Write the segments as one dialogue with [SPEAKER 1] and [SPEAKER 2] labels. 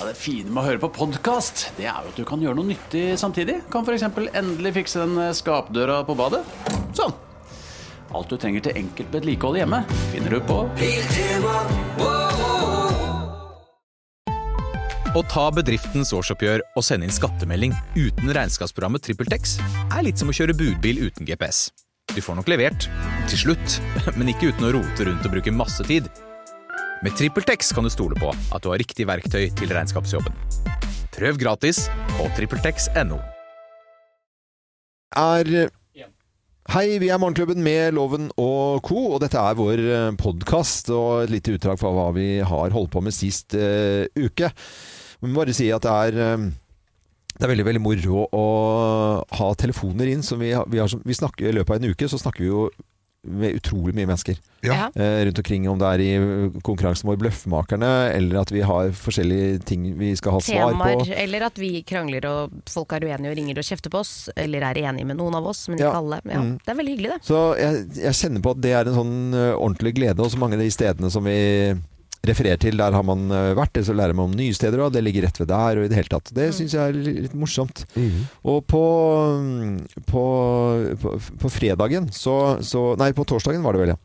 [SPEAKER 1] Ja, det fine med å høre på podkast, det er jo at du kan gjøre noe nyttig samtidig. Kan f.eks. endelig fikse den eh, skapdøra på badet. Sånn. Alt du trenger til enkelt vedlikehold hjemme, finner du på
[SPEAKER 2] Å ta bedriftens årsoppgjør og sende inn skattemelding uten regnskapsprogrammet TrippelTex er litt som å kjøre budbil uten GPS. Du får nok levert, til slutt, men ikke uten å rote rundt og bruke masse tid. Med TrippelTex kan du stole på at du har riktig verktøy til regnskapsjobben. Prøv gratis på TrippelTex.no.
[SPEAKER 3] er eh, Hei, vi er Morgenklubben med Loven og co., og dette er vår podkast og et lite utdrag fra hva vi har holdt på med sist eh, uke. Vi må bare si at det er eh, det er veldig veldig moro å ha telefoner inn. Som vi, har- vi har, som- vi snakker, I løpet av en uke så snakker vi jo med utrolig mye mennesker
[SPEAKER 4] Ja.
[SPEAKER 3] eh, rundt omkring. Om det er i konkurransen vår Bløffmakerne, eller at vi har forskjellige ting vi skal ha svar på.
[SPEAKER 4] Temaer, eller at vi krangler og folk er uenige og ringer og kjefter på oss, eller er enige med noen av oss, men ikke
[SPEAKER 3] Ja.
[SPEAKER 4] alle. Ja,
[SPEAKER 3] Mm.
[SPEAKER 4] Det er veldig hyggelig, det.
[SPEAKER 3] Så jeg, jeg kjenner på at det er en sånn ø, ordentlig glede. Og så mange av de stedene som vi refererer til, der har man ø, vært. Eller så lærer man om nye steder, og det ligger rett ved der. Og i det hele tatt. Det syns jeg er li- litt morsomt. Og på, mm, på, på, på fredagen så, så Nei, på torsdagen var det vel, ja.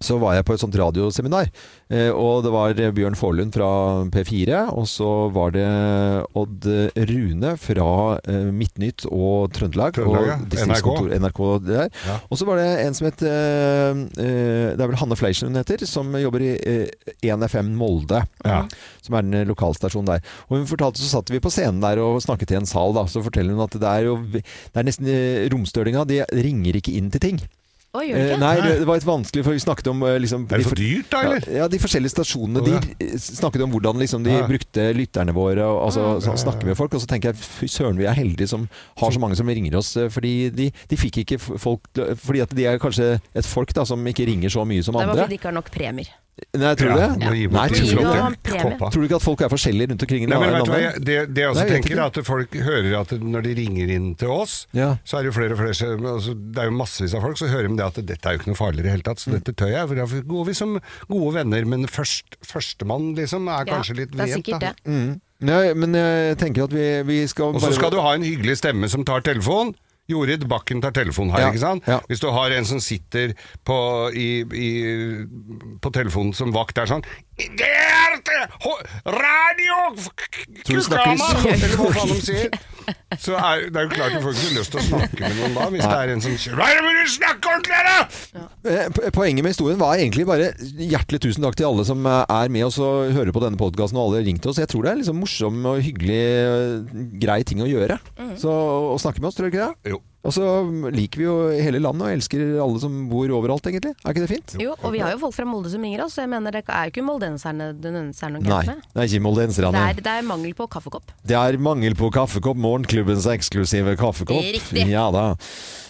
[SPEAKER 3] Så var jeg på et sånt radioseminar, eh, og det var Bjørn Forlund fra P4. Og så var det Odd Rune fra eh, Midtnytt og Trøndelag.
[SPEAKER 5] Trøndelag, ja.
[SPEAKER 3] og distriktskontor- NRK der.
[SPEAKER 5] Ja.
[SPEAKER 3] Og så var det en som het eh, eh, Det er vel Hanne Fleischer hun heter, som jobber i eh, 1FM Molde.
[SPEAKER 5] Ja.
[SPEAKER 3] Som er den lokalstasjonen der. Og hun fortalte Så satt vi på scenen der og snakket i en sal, da. Så forteller hun at det er jo Det er nesten eh, Romstølinga, de ringer ikke inn til ting.
[SPEAKER 4] Oi, gjør det
[SPEAKER 3] Eh,
[SPEAKER 4] ikke?
[SPEAKER 3] nei, det det var litt vanskelig, for vi snakket om eh, liksom, de
[SPEAKER 5] Er det
[SPEAKER 3] for-
[SPEAKER 5] for dyrt, da,
[SPEAKER 3] ja,
[SPEAKER 5] eller?
[SPEAKER 3] ja, de forskjellige stasjonene.
[SPEAKER 5] Å,
[SPEAKER 3] De
[SPEAKER 5] ja.
[SPEAKER 3] eh, snakket om hvordan liksom, de
[SPEAKER 5] Ja.
[SPEAKER 3] brukte lytterne våre. Og, altså, sånn, snakker med folk, og så tenker jeg fy søren, vi er heldige som har så mange som ringer oss. eh, Fordi de, de fikk ikke f- folk til å- Fordi at de er kanskje et folk da, som ikke ringer så mye som
[SPEAKER 4] Det er bare
[SPEAKER 3] andre.
[SPEAKER 4] fordi de ikke har nok premier.
[SPEAKER 3] Nei, tror du
[SPEAKER 5] Ja,
[SPEAKER 3] det?
[SPEAKER 5] må gi bort
[SPEAKER 3] Nei,
[SPEAKER 5] de
[SPEAKER 3] tror du
[SPEAKER 4] Gir
[SPEAKER 3] ikke
[SPEAKER 4] jo
[SPEAKER 3] det?
[SPEAKER 4] han premie.
[SPEAKER 5] Koppa.
[SPEAKER 3] Tror du ikke at folk er forskjellige rundt omkring? i
[SPEAKER 5] Nei, men vet
[SPEAKER 3] landet?
[SPEAKER 5] du hva, jeg, det, det jeg
[SPEAKER 3] Nei,
[SPEAKER 5] også
[SPEAKER 3] jeg vet
[SPEAKER 5] tenker, er at folk hører at når de ringer inn til oss,
[SPEAKER 3] Ja.
[SPEAKER 5] så er det jo flere og flere som- altså, Det er jo massevis av folk, så hører de det at dette er jo ikke noe farlig i det hele tatt, så dette tør jeg. For da går vi som gode venner, men først, førstemann, liksom, er
[SPEAKER 4] Ja,
[SPEAKER 5] kanskje litt
[SPEAKER 4] det er
[SPEAKER 5] vrient,
[SPEAKER 4] sikkert
[SPEAKER 5] da.
[SPEAKER 4] det.
[SPEAKER 3] Mm. Nei, men jeg tenker at vi, vi skal
[SPEAKER 5] Og så skal du ha en hyggelig stemme som tar telefonen. Jorid Bakken tar telefonen her,
[SPEAKER 3] Ja,
[SPEAKER 5] ikke sant?
[SPEAKER 3] ja.
[SPEAKER 5] Hvis du har en som sitter på, i, i, på telefonen som vakt der sånn Det er det! Ho- Radio!
[SPEAKER 3] Tror du snakker i
[SPEAKER 5] Kukama!»
[SPEAKER 3] sånn?
[SPEAKER 5] Eller hva faen de sier. Så er, det er jo klart du får ikke lyst til å snakke med noen da, hvis det er en som sier Hva er det med du snakker ordentlig, da?!
[SPEAKER 3] Eh, po- Poenget med historien var egentlig bare hjertelig tusen takk til alle som eh, er med oss og hører på denne podkasten og alle har ringt oss. Jeg tror det er liksom morsom og hyggelig, eh, grei ting å gjøre.
[SPEAKER 4] Mm.
[SPEAKER 3] Så å snakke med oss, tror du ikke det?
[SPEAKER 5] Jo.
[SPEAKER 3] Og så liker vi jo hele landet og elsker alle som bor overalt, egentlig. Er ikke det fint?
[SPEAKER 4] Jo, og vi har jo folk fra Molde som ringer oss, så jeg mener det er jo ikke moldenserne det nødvendigvis er noe
[SPEAKER 3] Nei.
[SPEAKER 4] gærent med.
[SPEAKER 3] Det er ikke
[SPEAKER 4] Det
[SPEAKER 3] moldenserne.
[SPEAKER 4] er, det er mangel på kaffekopp.
[SPEAKER 3] Det er mangel på kaffekopp. Morgenklubbens eksklusive kaffekopp.
[SPEAKER 4] Riktig.
[SPEAKER 3] Ja da.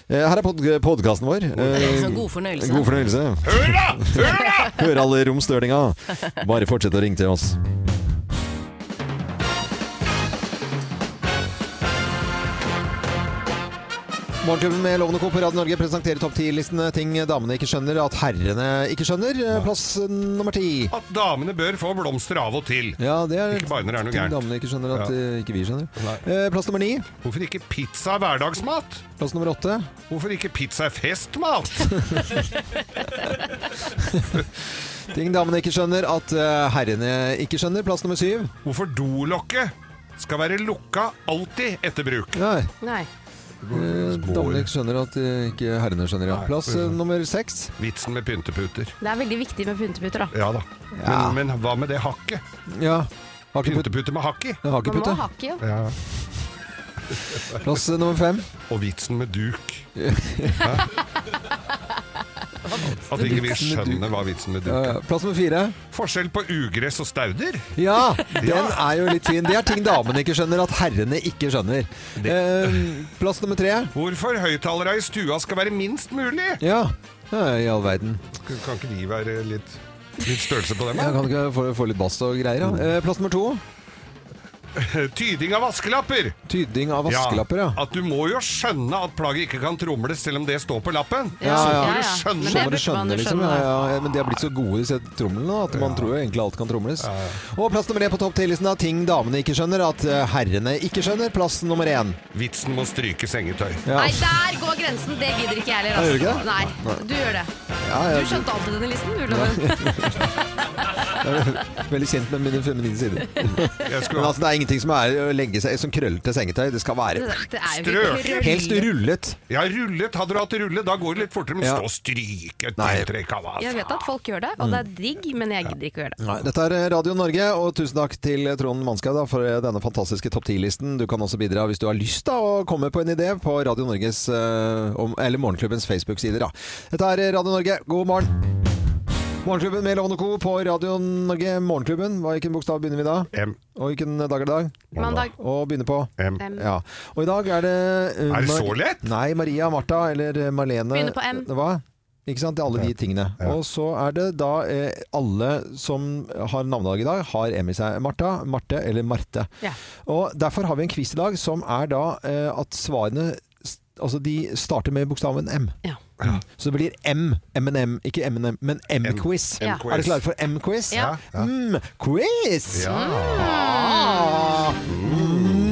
[SPEAKER 3] Eh, Her er pod podkasten vår. Eh,
[SPEAKER 4] Så god fornøyelse.
[SPEAKER 3] God fornøyelse.
[SPEAKER 5] Hør da! Hør da!
[SPEAKER 3] Hør alle romstølinga. Bare fortsett å ringe til oss. Morgenklubben med Lovende Co. på Radio Norge presenterer topp ti-listene. Ting damene ikke skjønner at herrene ikke skjønner. Plass eh, nummer ti.
[SPEAKER 5] At damene bør få blomster av og til.
[SPEAKER 3] Ja, det er
[SPEAKER 5] Ikke bare når det er noe
[SPEAKER 3] ting
[SPEAKER 5] gærent.
[SPEAKER 3] damene ikke skjønner at
[SPEAKER 5] Ja.
[SPEAKER 3] eh, ikke vi skjønner.
[SPEAKER 5] Nei.
[SPEAKER 3] Eh, Plass nummer ni.
[SPEAKER 5] Hvorfor ikke pizza er hverdagsmat?
[SPEAKER 3] Plass nummer åtte.
[SPEAKER 5] Hvorfor ikke pizza er festmat?
[SPEAKER 3] Ting damene ikke skjønner at eh, herrene ikke skjønner. Plass nummer syv.
[SPEAKER 5] Hvorfor dolokket skal være lukka alltid etter bruk.
[SPEAKER 3] Nei,
[SPEAKER 4] Nei.
[SPEAKER 3] eh, damene ikke skjønner at eh, ikke herrene skjønner. Ja.
[SPEAKER 5] Nei,
[SPEAKER 3] Plass eh, nummer seks.
[SPEAKER 5] Vitsen med pynteputer.
[SPEAKER 4] Det er veldig viktig med punteputer, da.
[SPEAKER 5] Ja da.
[SPEAKER 3] Ja.
[SPEAKER 5] Men, men hva med det hakket?
[SPEAKER 3] Ja. Hakeputt.
[SPEAKER 5] Pynteputer med hakk i.
[SPEAKER 4] Man må
[SPEAKER 3] Hakepute.
[SPEAKER 4] hakke, jo.
[SPEAKER 5] Ja.
[SPEAKER 3] Plass eh, nummer fem.
[SPEAKER 5] Og vitsen med duk. Hæ? At ikke vi
[SPEAKER 3] Vitsen med duk.
[SPEAKER 5] skjønner hva vitsen med
[SPEAKER 3] Ja,
[SPEAKER 5] duk er.
[SPEAKER 3] ja. Plass nummer fire.
[SPEAKER 5] Forskjell på ugress og stauder?
[SPEAKER 3] Ja, den er jo litt fin. Det er ting damene ikke skjønner, at herrene ikke skjønner. Eh, plass nummer tre.
[SPEAKER 5] Hvorfor høyttalere i stua skal være minst mulig?
[SPEAKER 3] Ja, ja i all verden.
[SPEAKER 5] Kan ikke de være litt, litt størrelse på
[SPEAKER 3] Jeg
[SPEAKER 5] dem? da?
[SPEAKER 3] Mm. kan ikke få, få litt bass og greier. Ja. Eh, plass nummer to.
[SPEAKER 5] Tyding av vaskelapper!
[SPEAKER 3] Tyding av vaskelapper, ja.
[SPEAKER 5] At du må jo skjønne at plagget ikke kan tromles selv om det står på lappen.
[SPEAKER 4] Ja,
[SPEAKER 5] Så
[SPEAKER 3] ja,
[SPEAKER 5] må
[SPEAKER 3] ja.
[SPEAKER 5] du
[SPEAKER 4] Men
[SPEAKER 5] skjønne
[SPEAKER 4] det
[SPEAKER 3] Så må
[SPEAKER 4] burde
[SPEAKER 3] du skjønne,
[SPEAKER 4] man jo
[SPEAKER 3] liksom.
[SPEAKER 4] skjønne.
[SPEAKER 3] Ja, ja, ja, men de har blitt så gode, disse tromlene, nå, at man tror jo egentlig alt kan tromles. Og plass nummer én på topp ti-listen av ting damene ikke skjønner, at eh, herrene ikke skjønner. Plass nummer én.
[SPEAKER 5] Vitsen må stryke sengetøy.
[SPEAKER 3] Ja.
[SPEAKER 4] Nei, der går grensen! Det gidder ikke jeg heller.
[SPEAKER 3] Gjør du
[SPEAKER 4] Altså. Nei,
[SPEAKER 3] ikke det?
[SPEAKER 4] du gjør det.
[SPEAKER 3] Ja, ja,
[SPEAKER 4] Du skjønte alt i denne listen, du, Loven.
[SPEAKER 3] Veldig kjent med mine feminine sider.
[SPEAKER 5] Jeg
[SPEAKER 3] Men
[SPEAKER 5] skulle
[SPEAKER 3] altså, det er ingenting som er å legge seg som krøllete sengetøy. Det skal være
[SPEAKER 4] Det er jo
[SPEAKER 5] Strøk.
[SPEAKER 4] ikke
[SPEAKER 3] helst
[SPEAKER 4] rull.
[SPEAKER 3] rullet.
[SPEAKER 5] Ja, rullet. Hadde du hatt rulle, da går det litt fortere. Men
[SPEAKER 3] Ja.
[SPEAKER 5] stå og stryke et
[SPEAKER 3] Nei.
[SPEAKER 5] trekk av
[SPEAKER 4] Jeg vet at folk gjør det, og det er digg, men jeg gidder ikke å gjøre det.
[SPEAKER 3] Nei, Dette er Radio Norge, og tusen takk til Trond Manskau da, for denne fantastiske topp 10-listen. Du kan også bidra hvis du har lyst da, å komme på en idé på Radio Norges, eh, om- eller Morgenklubbens Facebook-sider. da. Dette er Radio Norge, god morgen! Morgenklubben med Lovende Co. på Radio Norge. Morgenklubben, hva, hvilken bokstav begynner vi da?
[SPEAKER 5] M.
[SPEAKER 3] Og hvilken dag er det dag?
[SPEAKER 4] Mandag.
[SPEAKER 3] Og begynner på?
[SPEAKER 5] M.
[SPEAKER 4] M.
[SPEAKER 3] Ja. Og i dag er det eh,
[SPEAKER 5] Er det så
[SPEAKER 3] Mar-
[SPEAKER 5] lett?
[SPEAKER 3] Nei, Maria, Martha eller eh, Marlene
[SPEAKER 4] Begynner på M.
[SPEAKER 3] Hva? Ikke sant? Det er Alle de tingene. Og så er det da eh, alle som har navnedag i dag, har M i seg. Martha, Marte eller Marte.
[SPEAKER 4] Ja.
[SPEAKER 3] Og derfor har vi en quiz i dag som er da eh, at svarene s- Altså de starter med bokstaven M.
[SPEAKER 4] Ja.
[SPEAKER 3] Så det blir M. M&M. Ikke M&M, men M-quiz.
[SPEAKER 4] Ja.
[SPEAKER 3] Er dere klare for Mm, M-quiz?
[SPEAKER 4] Ja.
[SPEAKER 3] M-quiz! Ah.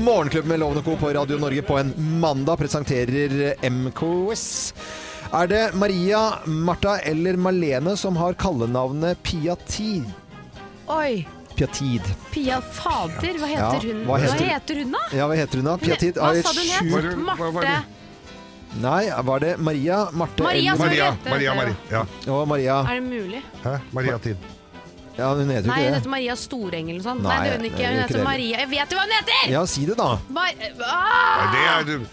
[SPEAKER 3] Morgenklubben med Lovende Co. på Radio Norge på en mandag presenterer MQS. Er det Maria, Martha eller Malene som har kallenavnet Piatid?
[SPEAKER 4] Oi,
[SPEAKER 3] Piatid.
[SPEAKER 4] Pia Fader, hva
[SPEAKER 3] Ja,
[SPEAKER 4] heter hun?
[SPEAKER 3] hva
[SPEAKER 4] Hva
[SPEAKER 3] heter-
[SPEAKER 4] heter hun, da?
[SPEAKER 3] Ja, hva heter hun da? Piatid
[SPEAKER 4] Hva
[SPEAKER 3] er
[SPEAKER 4] sa du
[SPEAKER 3] sju-
[SPEAKER 4] hun het?
[SPEAKER 5] Hva- hva var
[SPEAKER 4] Marte
[SPEAKER 5] det?
[SPEAKER 3] Nei, var det Maria, Marte
[SPEAKER 4] Maria,
[SPEAKER 3] eller
[SPEAKER 5] Maria,
[SPEAKER 4] Sorry, det-
[SPEAKER 5] Maria,
[SPEAKER 4] det-
[SPEAKER 5] Maria. Ja.
[SPEAKER 3] Og Maria.
[SPEAKER 4] Er det mulig?
[SPEAKER 5] Hæ? Maria Tid.
[SPEAKER 3] Ja, hun heter jo
[SPEAKER 4] Nei, hun
[SPEAKER 3] ikke det.
[SPEAKER 4] heter Maria Storeng eller noe sånt.
[SPEAKER 3] Nei,
[SPEAKER 4] Nei, det gjør hun ikke.
[SPEAKER 3] det
[SPEAKER 4] Hun
[SPEAKER 3] gjør ikke
[SPEAKER 4] heter
[SPEAKER 3] det.
[SPEAKER 4] Maria Jeg vet jo hva hun heter!
[SPEAKER 3] Ja, si det da.
[SPEAKER 4] Mar-
[SPEAKER 5] Nei,
[SPEAKER 4] ah,
[SPEAKER 5] det er du.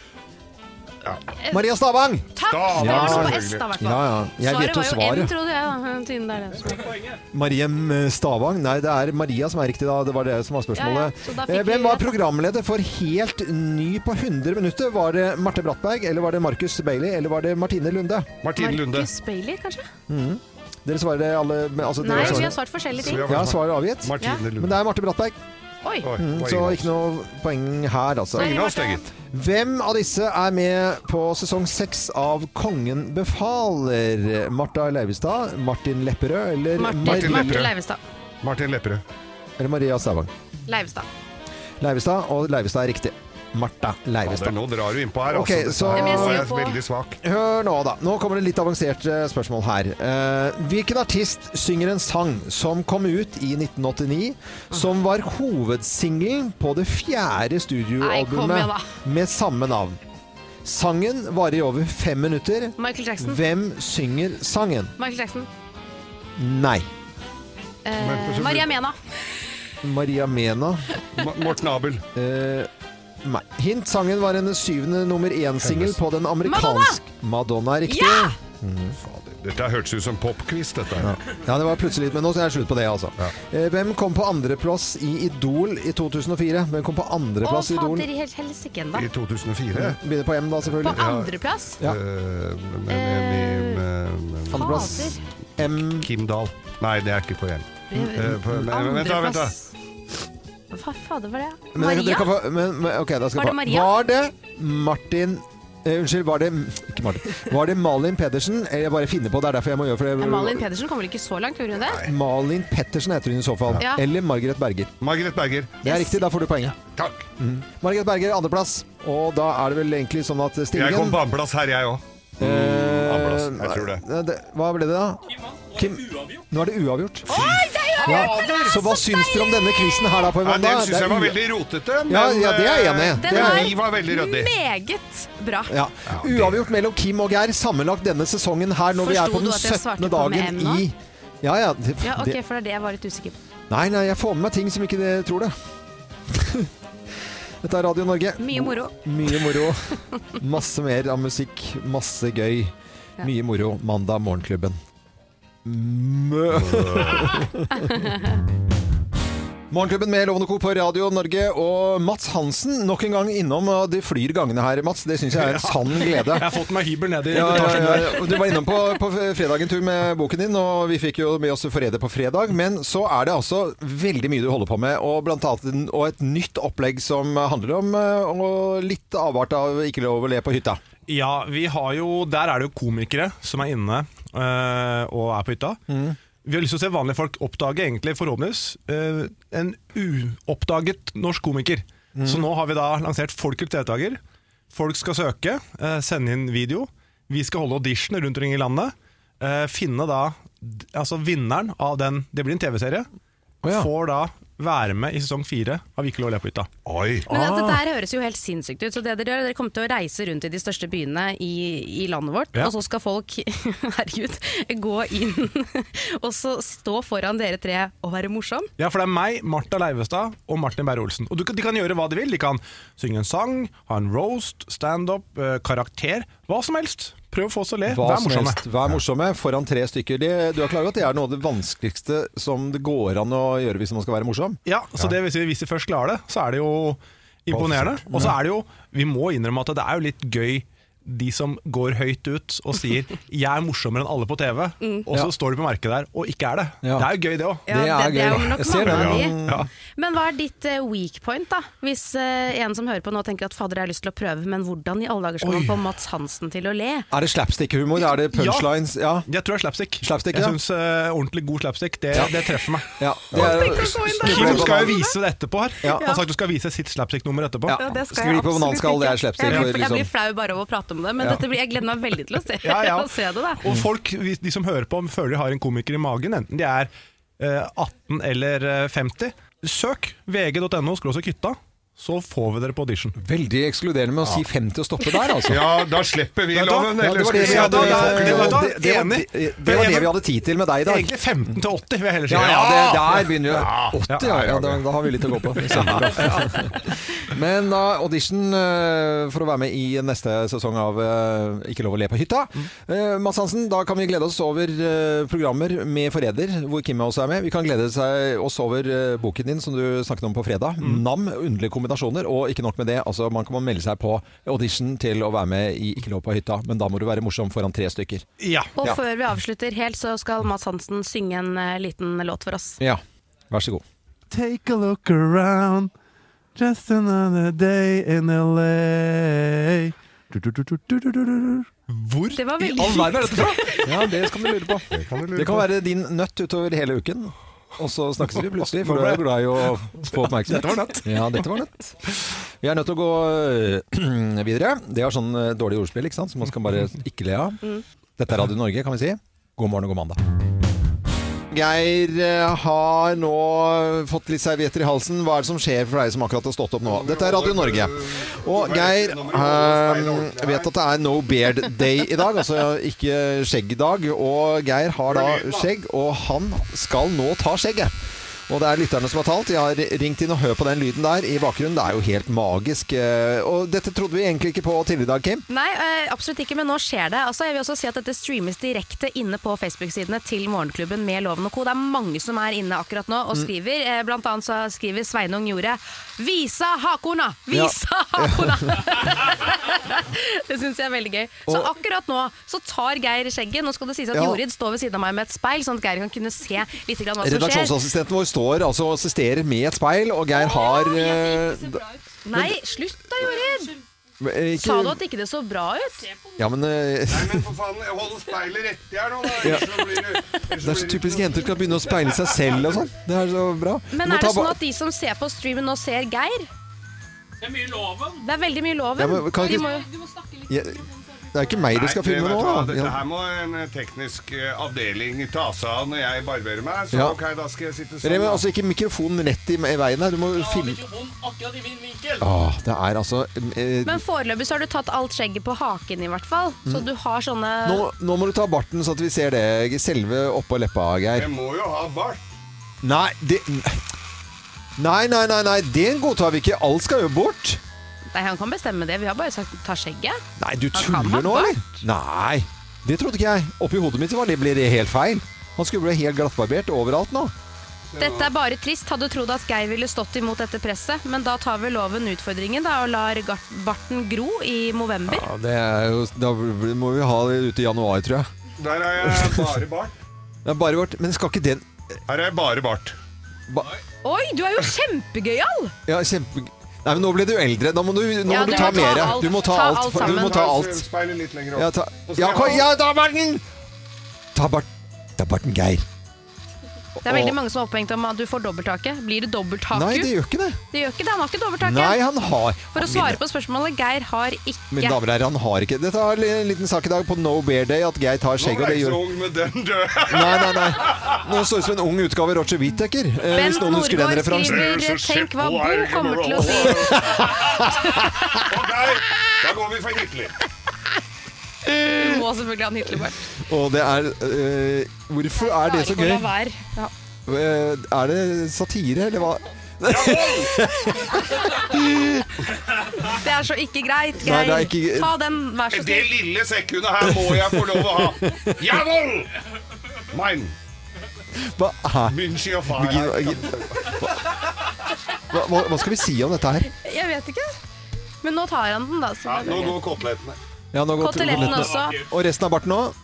[SPEAKER 3] Maria Stavang!
[SPEAKER 4] takk!
[SPEAKER 5] Da,
[SPEAKER 4] det var noe på
[SPEAKER 5] selvfølgelig.
[SPEAKER 4] S, da, i hvert
[SPEAKER 3] Ja,
[SPEAKER 4] fall.
[SPEAKER 3] ja. Jeg vet jo
[SPEAKER 4] var jo M,
[SPEAKER 3] svaret.
[SPEAKER 4] trodde jeg. da, altså. siden det er det som-
[SPEAKER 3] Mariem eh, Stavang? Nei, det er Maria som er riktig, da. Det var det som var
[SPEAKER 4] Ja, ja,
[SPEAKER 3] spørsmålet.
[SPEAKER 4] så da fikk
[SPEAKER 3] Eh, Hvem
[SPEAKER 4] vi
[SPEAKER 3] var
[SPEAKER 4] rett.
[SPEAKER 3] programleder for Helt ny på 100 minutter? Var det Marte Brattberg, eller var det Markus Bailey, eller var det Martine Lunde?
[SPEAKER 5] Martine Lunde.
[SPEAKER 4] Marcus Bailey, kanskje?
[SPEAKER 3] Dere svarer alle men altså,
[SPEAKER 4] Nei,
[SPEAKER 3] dere
[SPEAKER 4] vi har
[SPEAKER 3] svarer.
[SPEAKER 4] svart forskjellige
[SPEAKER 5] Så vi
[SPEAKER 4] ting.
[SPEAKER 5] har-
[SPEAKER 3] Ja, svaret er avgitt.
[SPEAKER 5] Martine
[SPEAKER 3] Men
[SPEAKER 5] Lunde.
[SPEAKER 3] det er Marte Brattberg,
[SPEAKER 4] Oi,
[SPEAKER 5] Oi,
[SPEAKER 3] mm,
[SPEAKER 5] poeng,
[SPEAKER 3] så
[SPEAKER 5] altså.
[SPEAKER 3] ikke noe poeng her, altså.
[SPEAKER 4] Nei.
[SPEAKER 5] Ingen av oss, det, gitt.
[SPEAKER 3] Hvem av disse er med på sesong seks av Kongen befaler? Marta Leivestad, Martin Lepperød eller,
[SPEAKER 4] Marte
[SPEAKER 5] Martin
[SPEAKER 3] Mar
[SPEAKER 5] Lepperød.
[SPEAKER 4] Marte Leivestad.
[SPEAKER 5] Martin Lepperød.
[SPEAKER 3] eller Maria Stavang?
[SPEAKER 4] Leivestad.
[SPEAKER 3] Leivestad, og Leivestad er riktig. Marta Leivestad.
[SPEAKER 5] Fader, nå drar du innpå her,
[SPEAKER 3] Ok,
[SPEAKER 5] altså.
[SPEAKER 3] så-
[SPEAKER 5] Dette
[SPEAKER 3] Ja, men jeg
[SPEAKER 5] her
[SPEAKER 4] ser
[SPEAKER 5] er
[SPEAKER 4] på-
[SPEAKER 5] veldig svak.
[SPEAKER 3] Hør nå, da. Nå kommer det litt avanserte spørsmål her. Eh, hvilken artist synger en sang som kom ut i 1989, som var hovedsingelen på det fjerde
[SPEAKER 4] Nei, kom igjen,
[SPEAKER 3] studioalbumet
[SPEAKER 4] da.
[SPEAKER 3] med samme navn? Sangen varer i over fem minutter.
[SPEAKER 4] Michael Jackson.
[SPEAKER 3] Hvem synger sangen?
[SPEAKER 4] Michael Jackson.
[SPEAKER 3] Nei.
[SPEAKER 4] Eh, Maria Mena.
[SPEAKER 3] Maria Mena.
[SPEAKER 5] Ma- Morten Abel.
[SPEAKER 3] Eh, nei. Hint. Sangen var hennes syvende nummer én-singel på den amerikanske Madonna, riktig.
[SPEAKER 4] Ja!
[SPEAKER 5] Fader, Dette hørtes ut som popquiz, dette her.
[SPEAKER 3] Ja, det var plutselig litt, men nå er det slutt på det, altså. Eh, Hvem kom på andreplass i Idol i 2004? Hvem kom på
[SPEAKER 4] Å,
[SPEAKER 3] andreplass i Idol?
[SPEAKER 4] fader i hel- helsike enda.
[SPEAKER 5] I 2004.
[SPEAKER 3] Begynner på M, da,
[SPEAKER 4] På
[SPEAKER 3] selvfølgelig.
[SPEAKER 4] andreplass?
[SPEAKER 3] Ja. Eh,
[SPEAKER 5] Eh, med- med- med- med- med-
[SPEAKER 3] Andreplass.
[SPEAKER 4] Fader.
[SPEAKER 3] M.
[SPEAKER 5] Kim Dahl. Nei, det er ikke på en.
[SPEAKER 3] Mm.
[SPEAKER 5] Eh, på- men- Vent, da. vent da.
[SPEAKER 4] Andreplass. Hva fader var det?
[SPEAKER 3] Men dere- Dere
[SPEAKER 4] Maria?
[SPEAKER 3] kan få, men, men, ok,
[SPEAKER 4] Var
[SPEAKER 3] da skal
[SPEAKER 4] det
[SPEAKER 3] jeg få-
[SPEAKER 4] Maria?
[SPEAKER 3] Var det Martin eh, Unnskyld, var det Ikke Martin. Var det Malin Pedersen? Eh, Jeg bare finner på, det er derfor jeg må gjøre for det.
[SPEAKER 4] Malin Pedersen kom vel ikke så langt, gjorde hun det?
[SPEAKER 3] Malin Pettersen heter hun i så fall.
[SPEAKER 4] Ja.
[SPEAKER 3] Eller Margaret Berger.
[SPEAKER 5] Margaret Berger.
[SPEAKER 3] Det er riktig, da får du poenget.
[SPEAKER 5] Takk.
[SPEAKER 3] Mm. Margaret Berger andreplass, og da er det vel egentlig sånn at
[SPEAKER 5] Jeg kom
[SPEAKER 3] stillingen
[SPEAKER 5] på andreplass her, jeg òg. andreplass, jeg tror det.
[SPEAKER 3] Eh, Hva ble Eh, det, da? Kim, nå er det uavgjort. Ja, så hva syns dere om denne quizen her, da? på en
[SPEAKER 5] Ja,
[SPEAKER 3] måte?
[SPEAKER 5] den syns
[SPEAKER 3] Det er
[SPEAKER 5] jeg var
[SPEAKER 3] u-
[SPEAKER 5] veldig rotete. Men
[SPEAKER 3] Ja, ja, det er jeg enig i.
[SPEAKER 5] eh,
[SPEAKER 3] Det
[SPEAKER 4] er jeg.
[SPEAKER 5] Vi var veldig ryddig.
[SPEAKER 4] Meget bra.
[SPEAKER 3] ja.
[SPEAKER 5] Ja, det-
[SPEAKER 3] Uavgjort mellom Kim og Geir sammenlagt denne sesongen her når vi er
[SPEAKER 4] Forsto
[SPEAKER 3] på den
[SPEAKER 4] du at jeg
[SPEAKER 3] 17.
[SPEAKER 4] svarte på med
[SPEAKER 3] dagen
[SPEAKER 4] M nå?
[SPEAKER 3] i ja, ja, det,
[SPEAKER 4] Ja, ok,
[SPEAKER 3] det,
[SPEAKER 4] for det er det jeg var litt usikker på.
[SPEAKER 3] Nei, nei, jeg får med meg ting som ikke dere tror det. Dette er Radio Norge.
[SPEAKER 4] Mye moro.
[SPEAKER 3] Mye moro. Masse mer av musikk. Masse gøy. Mye moro. Mandag Morgenklubben. Mø! Morgenklubben med Lovende Co. på Radio Norge og Mats Hansen nok en gang innom. og De flyr gangene her, Mats. Det syns jeg er en sann glede.
[SPEAKER 6] Jeg har fått meg hybel nede i
[SPEAKER 3] Ja, ja,
[SPEAKER 6] etasjen
[SPEAKER 3] ja,
[SPEAKER 6] der.
[SPEAKER 3] ja. Og Du var innom på, på fredag en tur med boken din, og vi fikk jo med oss Forræder på fredag. Men så er det altså veldig mye du holder på med, og blant annet en- og et nytt opplegg som handler om eh, og litt avart av ikke lov å le på hytta.
[SPEAKER 6] Ja, vi har jo, der er det jo komikere som er inne eh, og er på hytta.
[SPEAKER 3] Mm.
[SPEAKER 6] Vi har lyst til å se vanlige folk oppdage, egentlig forhåpentligvis, eh, en uoppdaget norsk komiker.
[SPEAKER 3] Mm.
[SPEAKER 6] Så nå har vi da lansert Folkets deltaker. Folk skal søke, eh, sende inn video. Vi skal holde auditioner rundt omkring i landet. eh, finne da d- altså vinneren av den Det blir en TV-serie.
[SPEAKER 3] ja.
[SPEAKER 6] Får da være med i sesong fire av Ikke lov å le på hytta.
[SPEAKER 5] Oi.
[SPEAKER 4] Men dette der høres jo helt sinnssykt ut. Så det Dere gjør, dere kommer til å reise rundt i de største byene i, i landet vårt,
[SPEAKER 6] Ja.
[SPEAKER 4] og så skal folk herregud, gå inn og så stå foran dere tre og være morsom.
[SPEAKER 6] Ja, for det er meg, Martha Leivestad og Martin Beyer-Olsen. Og du, kan- de kan gjøre hva de vil. De kan synge en sang, ha en roast, standup, eh, karakter. Hva som helst. Prøv å få oss til å le. Vær
[SPEAKER 3] som
[SPEAKER 6] morsomme.
[SPEAKER 3] helst. Vær morsomme foran tre stykker. Det, du er klar over at det er noe av det vanskeligste som det går an å gjøre hvis man skal være morsom?
[SPEAKER 6] Ja, så det, hvis, vi, hvis de først klarer det, så er det jo imponerende. Og så er det jo, vi må innrømme at det er jo litt gøy de som går høyt ut og sier 'jeg er morsommere enn alle på TV', og så står de på merket der og ikke er det.
[SPEAKER 3] Ja.
[SPEAKER 6] Det er jo gøy, det òg.
[SPEAKER 4] Ja,
[SPEAKER 3] Det er
[SPEAKER 4] det, det er
[SPEAKER 3] gøy.
[SPEAKER 4] jo nok
[SPEAKER 3] Jeg ser det,
[SPEAKER 4] mange av
[SPEAKER 3] ja.
[SPEAKER 4] de. Men hva er ditt eh, weak point, da? Hvis eh, en som hører på nå tenker at fader, jeg har lyst til å prøve, men hvordan i alle dager skal man få Mats Hansen til å le?
[SPEAKER 3] Er det slapstick-humor? Er det punchlines? Ja.
[SPEAKER 6] Jeg tror det er slapstick.
[SPEAKER 3] Slapstick,
[SPEAKER 6] jeg
[SPEAKER 3] ja.
[SPEAKER 6] synes, eh, ordentlig god slapstick, det, det treffer meg.
[SPEAKER 3] ja. Det er,
[SPEAKER 6] Kim skal jo vise det etterpå her.
[SPEAKER 3] Ja.
[SPEAKER 6] Han har sagt du skal vise sitt slapstick-nummer etterpå.
[SPEAKER 3] Ja. Skli på bananskall, det er slapstick.
[SPEAKER 4] Jeg
[SPEAKER 3] for
[SPEAKER 4] blir, jeg
[SPEAKER 3] liksom-
[SPEAKER 4] blir flau bare av å prate om det, men dette blir, jeg gleder meg veldig til å se,
[SPEAKER 6] Ja, ja.
[SPEAKER 4] å se det. da
[SPEAKER 6] Og folk, hvis de som hører på, føler de har en komiker i magen, enten de er eh, 18 eller eh, 50. Søk vg.no skråstrek hytta, så får vi dere på audition.
[SPEAKER 3] Veldig ekskluderende med å si 50 og stoppe der, altså.
[SPEAKER 5] Ja, da slipper vi
[SPEAKER 6] Vet du hva?
[SPEAKER 5] loven.
[SPEAKER 6] Ja,
[SPEAKER 5] eller
[SPEAKER 6] det var det
[SPEAKER 5] skal vi
[SPEAKER 6] vi
[SPEAKER 5] si at
[SPEAKER 6] hadde-
[SPEAKER 5] vi får
[SPEAKER 6] det-
[SPEAKER 5] ikke
[SPEAKER 6] det- vet du hva?
[SPEAKER 5] lov?
[SPEAKER 3] det, var
[SPEAKER 6] Enig.
[SPEAKER 3] det, det var det vi hadde tid til med deg i dag.
[SPEAKER 6] Egentlig 15 til 80, vil jeg heller si.
[SPEAKER 3] Ja, ja, det, der begynner jo 80, ja.
[SPEAKER 5] Ja,
[SPEAKER 3] ja da, da har vi litt å gå på. Kjempebra. Men da audition eh, for å være med i neste sesong av eh, Ikke lov å le på hytta. Eh, Mads Hansen, da kan vi glede oss over eh, programmer med Forræder, hvor Kim også er med. Vi kan glede seg oss over eh, boken din som du snakket om på fredag. NAM, underlige kombinasjoner. Og ikke nok med det, altså man kan melde seg på audition til å være med i Ikke lov på hytta, men da må du være morsom foran tre stykker.
[SPEAKER 6] Ja.
[SPEAKER 4] Og før vi avslutter helt, så skal Mads Hansen synge en eh, liten låt for oss.
[SPEAKER 3] Ja, vær så god.
[SPEAKER 7] Take a look around. Just another day in LA. Du, du, du, du, du, du, du, du.
[SPEAKER 6] Hvor
[SPEAKER 4] Det var
[SPEAKER 6] i
[SPEAKER 4] veldig
[SPEAKER 6] all verden er dette fra?
[SPEAKER 3] Ja, det skal du lure på. Det kan, være din nøtt utover hele uken. Og så snakkes vi plutselig, for du er jo glad i å få oppmerksomhet. Dette var nøtt. Ja, dette var nøtt. Vi er nødt til å gå øh, videre. Det er sånn øh, dårlig ordspill, ikke sant? som man skal bare ikke le av. Dette er Radio Norge, kan vi si. God morgen og god mandag. Geir øh, har nå fått litt servietter i halsen. Hva er det som skjer for deg som akkurat har stått opp nå? Dette er Radio Norge. Og Geir øh, vet at det er no beard day i dag, altså ikke skjeggdag. Og Geir har da skjegg, og han skal nå ta skjegget. Og det er lytterne som har talt. Jeg har ringt inn og hørt på den lyden der i bakgrunnen. Det er jo helt magisk. eh, Og dette trodde vi egentlig ikke på tidligere i dag, Kim.
[SPEAKER 4] Nei, eh, absolutt ikke, men nå skjer det. Altså, jeg vil også si at Dette streames direkte inne på Facebook-sidene til Morgenklubben med Loven og co. Det er mange som er inne akkurat nå og skriver. Eh, Blant annet så skriver Sveinung Jordet 'Visa hakorna! Visa hakorna!' det syns jeg er veldig gøy. Så akkurat nå så tar Geir skjegget. Nå skal det sies at
[SPEAKER 3] Ja.
[SPEAKER 4] Jorid står ved siden av meg med et speil, sånn at Geir kan kunne se litt grann hva som skjer.
[SPEAKER 3] Redaksjonsassistenten vår står altså og assisterer med et speil, og Geir har eh,
[SPEAKER 4] Nei, slutt da, Jorid!
[SPEAKER 3] eh, ikke-
[SPEAKER 4] Sa du at ikke det så bra ut?
[SPEAKER 3] Ja, men eh,
[SPEAKER 5] Nei, men for faen, hold speilet rett i her nå, da. Ellers så blir det- ellers
[SPEAKER 3] det er så typisk jenter skal begynne å speile seg selv og sånn. Det er så bra.
[SPEAKER 4] Men
[SPEAKER 3] Du må
[SPEAKER 4] er
[SPEAKER 3] ta
[SPEAKER 4] det
[SPEAKER 3] ba-
[SPEAKER 4] sånn at de som ser på streamen nå ser Geir? Det er veldig mye loven.
[SPEAKER 3] Ja, men kan
[SPEAKER 4] De
[SPEAKER 3] ikke-
[SPEAKER 4] må jo-
[SPEAKER 3] Ja, Det er ikke meg de skal
[SPEAKER 5] Nei,
[SPEAKER 3] filme
[SPEAKER 5] vet
[SPEAKER 3] nå,
[SPEAKER 5] du hva,
[SPEAKER 3] da.
[SPEAKER 5] Dette
[SPEAKER 3] Ja.
[SPEAKER 5] her må en eh, teknisk eh, avdeling ta seg av når jeg barberer meg. Så
[SPEAKER 3] Ja.
[SPEAKER 5] ok, da skal jeg sitte sånn.
[SPEAKER 3] Remi,
[SPEAKER 5] da.
[SPEAKER 3] altså ikke mikrofonen rett i, i veien her. Du må filme Åh, Det er altså eh,
[SPEAKER 4] Men foreløpig så har du tatt alt skjegget på haken i hvert fall. Så du har sånne
[SPEAKER 3] Mm. nå, nå må du ta barten, så at vi ser det selve oppå leppa, Geir.
[SPEAKER 5] Jeg må jo ha bart.
[SPEAKER 3] Nei, det Nei, nei, nei, nei, den godtar vi ikke. Alt skal jo bort.
[SPEAKER 4] Nei, han kan bestemme det. Vi har bare sagt ta skjegget.
[SPEAKER 3] Nei, du
[SPEAKER 4] Han kan ha
[SPEAKER 3] tuller nå, eller? Nei, det trodde ikke jeg. Oppi hodet mitt var det ble det helt feil. Han skulle bli helt glattbarbert overalt nå.
[SPEAKER 4] Dette er bare trist. Hadde trodd at Geir ville stått imot dette presset, men da tar vel loven utfordringen da, og lar gart- barten gro i november.
[SPEAKER 3] Ja, det er jo, da må vi ha det ute i januar, tror jeg.
[SPEAKER 5] Der har jeg bare bart.
[SPEAKER 3] Det er bare vårt, men skal ikke den
[SPEAKER 5] Her er jeg bare bart.
[SPEAKER 3] ba,
[SPEAKER 4] Oi, du er jo kjempegøyal!
[SPEAKER 3] Ja, kjempe... Nei, men nå ble du eldre. Da må du, nå
[SPEAKER 4] Ja,
[SPEAKER 3] må du
[SPEAKER 4] du
[SPEAKER 3] ta
[SPEAKER 4] må ta
[SPEAKER 3] mer.
[SPEAKER 4] alt.
[SPEAKER 3] Du må ta,
[SPEAKER 4] Ta alt
[SPEAKER 3] alt. for- du
[SPEAKER 4] sammen.
[SPEAKER 3] må ta alt.
[SPEAKER 5] Speilet litt lenger
[SPEAKER 3] Ja,
[SPEAKER 5] opp.
[SPEAKER 3] ta, ja, kom, ja ta barten! Ta bart... Ta barten, Geir.
[SPEAKER 4] Det er veldig mange som er opphengt om at du får dobbelthake. Blir det dobbelthake?
[SPEAKER 3] Nei, det gjør ikke det.
[SPEAKER 4] Det gjør ikke det. Han har ikke dobbelthake.
[SPEAKER 3] Nei, han har
[SPEAKER 4] For å svare på spørsmålet, Geir har ikke
[SPEAKER 3] Mine damer og herrer, han har ikke Dette er en liten sak i dag på No Bear Day at Geir tar skjegg og det gjør
[SPEAKER 5] ung med den døde.
[SPEAKER 3] Nei, nei, nei. Nå står det som en ung utgave av Roger Whittaker. eh,
[SPEAKER 4] Bent
[SPEAKER 3] Hvis noen husker den
[SPEAKER 4] Norgård
[SPEAKER 3] referansen.
[SPEAKER 4] skriver 'Tenk hva Bo kommer til å si'.
[SPEAKER 5] Ok, da går vi for Hitler.
[SPEAKER 4] Du må selvfølgelig ha en Hitlerbart.
[SPEAKER 3] Og det er eh, Hvorfor er det så gøy?
[SPEAKER 4] Ja.
[SPEAKER 3] Eh, Er det satire, eller hva?
[SPEAKER 4] Det er så ikke greit,
[SPEAKER 3] Nei,
[SPEAKER 4] Geir.
[SPEAKER 3] det er ikke-
[SPEAKER 4] Ta den, vær så
[SPEAKER 5] Det
[SPEAKER 4] snill.
[SPEAKER 5] lille sekundet her må jeg få lov å ha. Jawohl! Mein,
[SPEAKER 3] Hva, er,
[SPEAKER 5] München og
[SPEAKER 3] hva, hva, hva skal vi si om dette her?
[SPEAKER 4] Jeg vet ikke. Men nå tar han den, da. Så det er
[SPEAKER 5] Nå
[SPEAKER 4] greit.
[SPEAKER 5] går kotelettene.
[SPEAKER 3] Ja, nå går-
[SPEAKER 4] Koteletten også.
[SPEAKER 3] Og resten av barten òg?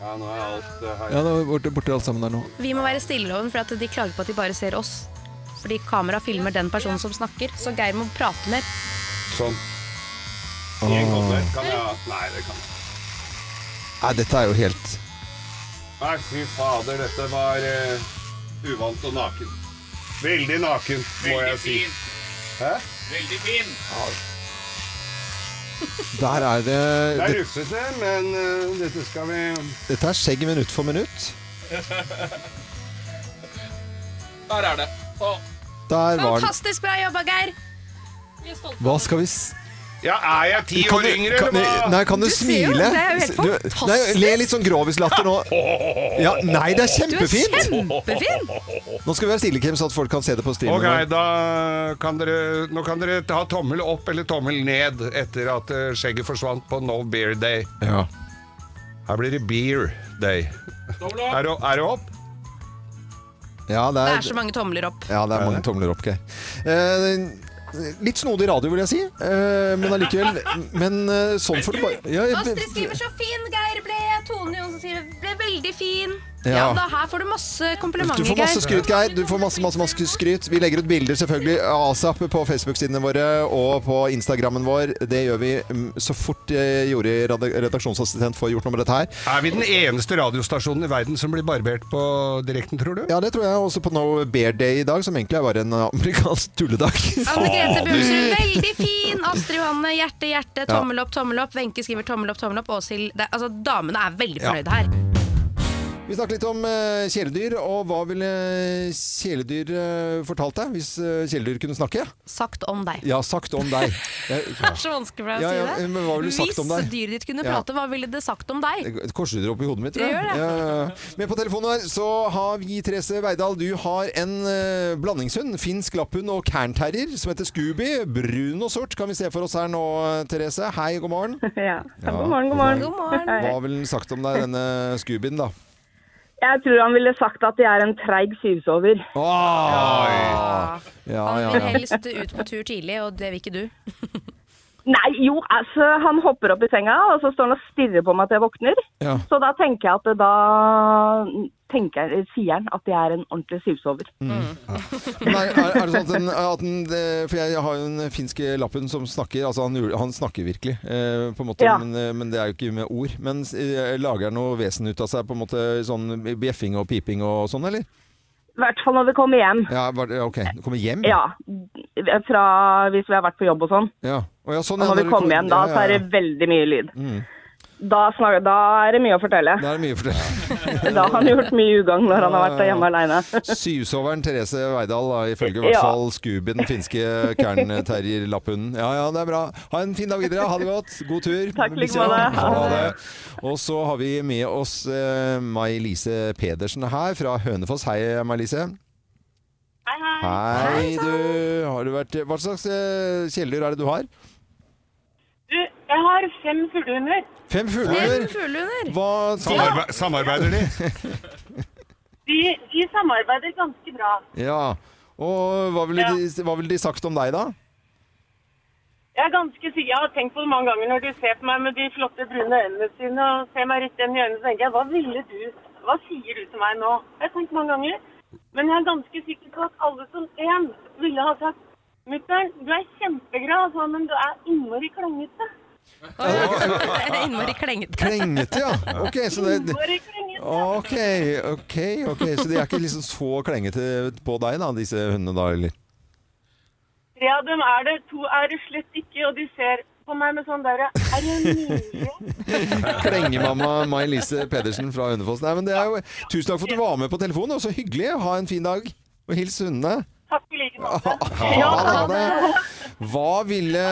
[SPEAKER 5] Ja, nå er alt eh, her.
[SPEAKER 3] Ja, nå er borte, borte alt sammen der nå.
[SPEAKER 4] Vi må være stille over, for at de klager på at de bare ser oss. Fordi kamera filmer den personen som snakker, så Geir må prate mer.
[SPEAKER 5] Sånn. I en
[SPEAKER 3] Ah.
[SPEAKER 5] kotelett kan jeg ha Nei, det kan jeg ikke.
[SPEAKER 3] Nei, dette er jo helt
[SPEAKER 5] Nei, fy fader, dette var eh, uvant og naken. Veldig naken, må jeg si.
[SPEAKER 3] Der er det,
[SPEAKER 5] Det
[SPEAKER 3] det
[SPEAKER 5] er rufsete, men eh, dette skal vi
[SPEAKER 3] Dette er skjegg minutt for minutt.
[SPEAKER 8] Der er det. Å,
[SPEAKER 3] Der var den.
[SPEAKER 4] Fantastisk bra jobba, Geir!
[SPEAKER 3] Hva skal vi s...
[SPEAKER 5] Ja, er jeg ti år yngre,
[SPEAKER 3] kan,
[SPEAKER 5] eller hva?
[SPEAKER 3] nei, kan du,
[SPEAKER 4] Du ser jo,
[SPEAKER 3] smile?
[SPEAKER 4] det er jo helt
[SPEAKER 3] Du-
[SPEAKER 4] fantastisk.
[SPEAKER 3] nei, le litt sånn grovislatter nå. Ja, nei, det er
[SPEAKER 4] Du er
[SPEAKER 3] kjempefint!
[SPEAKER 4] kjempefin!
[SPEAKER 3] Nå skal vi være stille, Kim, så at folk kan se det på streamen.
[SPEAKER 5] Ok, da kan dere, nå kan dere ta tommel opp eller tommel ned etter at eh, skjegget forsvant på No Beer Day.
[SPEAKER 3] Ja.
[SPEAKER 5] Her blir det Beer Day.
[SPEAKER 8] dobbel opp.
[SPEAKER 5] Er det, er det opp?
[SPEAKER 3] ja, det
[SPEAKER 4] Det
[SPEAKER 3] er,
[SPEAKER 4] er så mange tomler opp.
[SPEAKER 3] ja, det er mange tomler opp, Geir. Eh, litt snodig radio, vil jeg si. Eh, men allikevel Men eh, sånn får du bare ja, jeg-
[SPEAKER 4] Astrid skriver 'så fin Geir ble'. Tone Johnsen skriver 'ble veldig fin'. Ja
[SPEAKER 3] Ja.
[SPEAKER 4] da, her får du masse
[SPEAKER 3] Du
[SPEAKER 4] komplimenter,
[SPEAKER 3] får masse
[SPEAKER 4] Geir.
[SPEAKER 3] skryt, Geir. Du får masse, masse, masse skryt. Vi legger ut bilder selvfølgelig asap på Facebook-sidene våre og på Instagrammen vår. Det gjør vi mm, så fort eh, Jori, reda- redaksjonsassistent, får gjort noe med dette her.
[SPEAKER 5] Er vi den eneste radiostasjonen i verden som blir barbert på direkten, tror du?
[SPEAKER 3] Ja, det tror jeg også på No Bear Day i dag, som egentlig er bare en amerikansk tulledag.
[SPEAKER 4] Anne Grete Bjørnsrud, veldig fin! Astrid Johanne, hjerte, hjerte, tommel opp, tommel opp. Wenche skriver tommel opp, tommel opp. Åshild det- Altså, damene er veldig fornøyde her.
[SPEAKER 3] Vi snakker litt om eh, kjæledyr, og hva ville kjæledyr eh, fortalt deg hvis eh, kjæledyr kunne snakke?
[SPEAKER 4] Sagt om deg.
[SPEAKER 3] Ja, sagt om deg. Jeg,
[SPEAKER 4] Det er så vanskelig for deg å
[SPEAKER 3] Ja, ja,
[SPEAKER 4] si det.
[SPEAKER 3] men hva ville du sagt
[SPEAKER 4] Hvis
[SPEAKER 3] om deg?
[SPEAKER 4] dyret ditt kunne
[SPEAKER 3] Ja.
[SPEAKER 4] prate, hva ville det sagt om deg?
[SPEAKER 3] Det Korser opp i hodet mitt, tror
[SPEAKER 4] Det
[SPEAKER 3] jeg.
[SPEAKER 4] gjør det.
[SPEAKER 3] Ja, ja, ja. Med på telefonen her så har vi Therese Veidal. Du har en eh, blandingshund. Finsk lapphund og cairnterrier som heter Scooby. Brun og sort kan vi se for oss her nå, Therese. Hei, god morgen.
[SPEAKER 9] Ja.
[SPEAKER 3] Ja,
[SPEAKER 9] ja. God morgen, god morgen.
[SPEAKER 4] God morgen.
[SPEAKER 9] Hei.
[SPEAKER 3] Hva ville den sagt om deg, denne Scoobyen, da?
[SPEAKER 9] Jeg tror han ville sagt at jeg er en treig syvsover.
[SPEAKER 3] Oi. Ja,
[SPEAKER 4] Han
[SPEAKER 3] ja,
[SPEAKER 4] vil
[SPEAKER 3] ja.
[SPEAKER 4] helst ut på tur tidlig, og det vil ikke du.
[SPEAKER 9] Nei, jo, altså, han hopper opp i senga, og så står han og stirrer på meg til jeg våkner.
[SPEAKER 3] ja.
[SPEAKER 9] Så da tenker jeg at det- da tenker, jeg- sier han at jeg er en ordentlig syvsover.
[SPEAKER 3] Men er, er, er det sånn at den, at den eh, For jeg har jo en finsk lapphund som snakker. Altså han, gjorde- han snakker virkelig, eh, på en måte,
[SPEAKER 9] Ja.
[SPEAKER 3] men, eh, men det er jo ikke med ord. Men eh, lager han noe vesen ut av seg? På en måte Sånn bjeffing og piping og sånn, eller?
[SPEAKER 9] I hvert fall når vi kommer hjem.
[SPEAKER 3] Ja, var, det- ok. Du kommer hjem?
[SPEAKER 9] Ja, fra hvis vi har vært på jobb og sånn.
[SPEAKER 3] Ja. Å, ja, sånn,
[SPEAKER 9] Og
[SPEAKER 3] ja,
[SPEAKER 9] når vi
[SPEAKER 3] dere
[SPEAKER 9] kommer hjem da,
[SPEAKER 3] ja, ja,
[SPEAKER 9] så er
[SPEAKER 3] ja.
[SPEAKER 9] det veldig mye lyd. Da, snak- da er det mye å fortelle.
[SPEAKER 3] Da er det mye for dere.
[SPEAKER 9] Da har han gjort mye ugagn når han har vært hjemme aleine.
[SPEAKER 3] Syvsoveren Therese Veidal, da, ifølge i hvert
[SPEAKER 9] Ja.
[SPEAKER 3] fall Scooby, den finske Kern-Terjer-lapphunden. Ja, ja, det er bra. Ha en fin dag videre. Ha det godt. God tur.
[SPEAKER 9] Takk, like
[SPEAKER 3] Liksom.
[SPEAKER 9] måte. Ha
[SPEAKER 3] Ha det. Og så har vi med oss eh, May-Lise Pedersen her fra Hønefoss. Hei, May-Lise.
[SPEAKER 9] Hei,
[SPEAKER 3] Hei, du. Har du vært Hva slags eh, kjæledyr er det du har?
[SPEAKER 9] jeg har fem fuglehunder.
[SPEAKER 3] Fem
[SPEAKER 4] Det er
[SPEAKER 3] fugler.
[SPEAKER 4] fuglehunder.
[SPEAKER 3] Hva
[SPEAKER 5] Samarbe samarbeider de?
[SPEAKER 10] Vi, vi samarbeider ganske bra.
[SPEAKER 3] Ja. Og hva ville, de, hva ville de sagt om deg, da?
[SPEAKER 10] Jeg er ganske sikker, jeg har tenkt på det mange ganger når de ser på meg med de flotte brune øynene sine og ser meg rett igjen i øynene, så tenker jeg hva ville du, hva sier du til meg nå? Jeg har tenkt mange ganger. Men jeg er ganske sikker på at alle som én ville ha sagt Mutter'n, du er kjempeglad, altså, men du er innmari klangete.
[SPEAKER 4] Innmari klengete.
[SPEAKER 3] Klengete, ja. Ok, så det,
[SPEAKER 10] Innmari klangete.
[SPEAKER 3] ok, ok, ok. Så de er ikke liksom så klengete på deg, da, disse hundene da, eller?
[SPEAKER 10] Tre av dem er det, to er det slett ikke, og de ser på meg med sånn derre Er det mulig?
[SPEAKER 3] Klengemamma Mai Lise Pedersen fra Hundefoss. Nei, men det er jo, tusen takk for at du var med på telefonen, og så hyggelig. Ha en fin dag. Og hils hundene.
[SPEAKER 10] Takk i like måte.
[SPEAKER 3] Ha det, ha det. Hva ville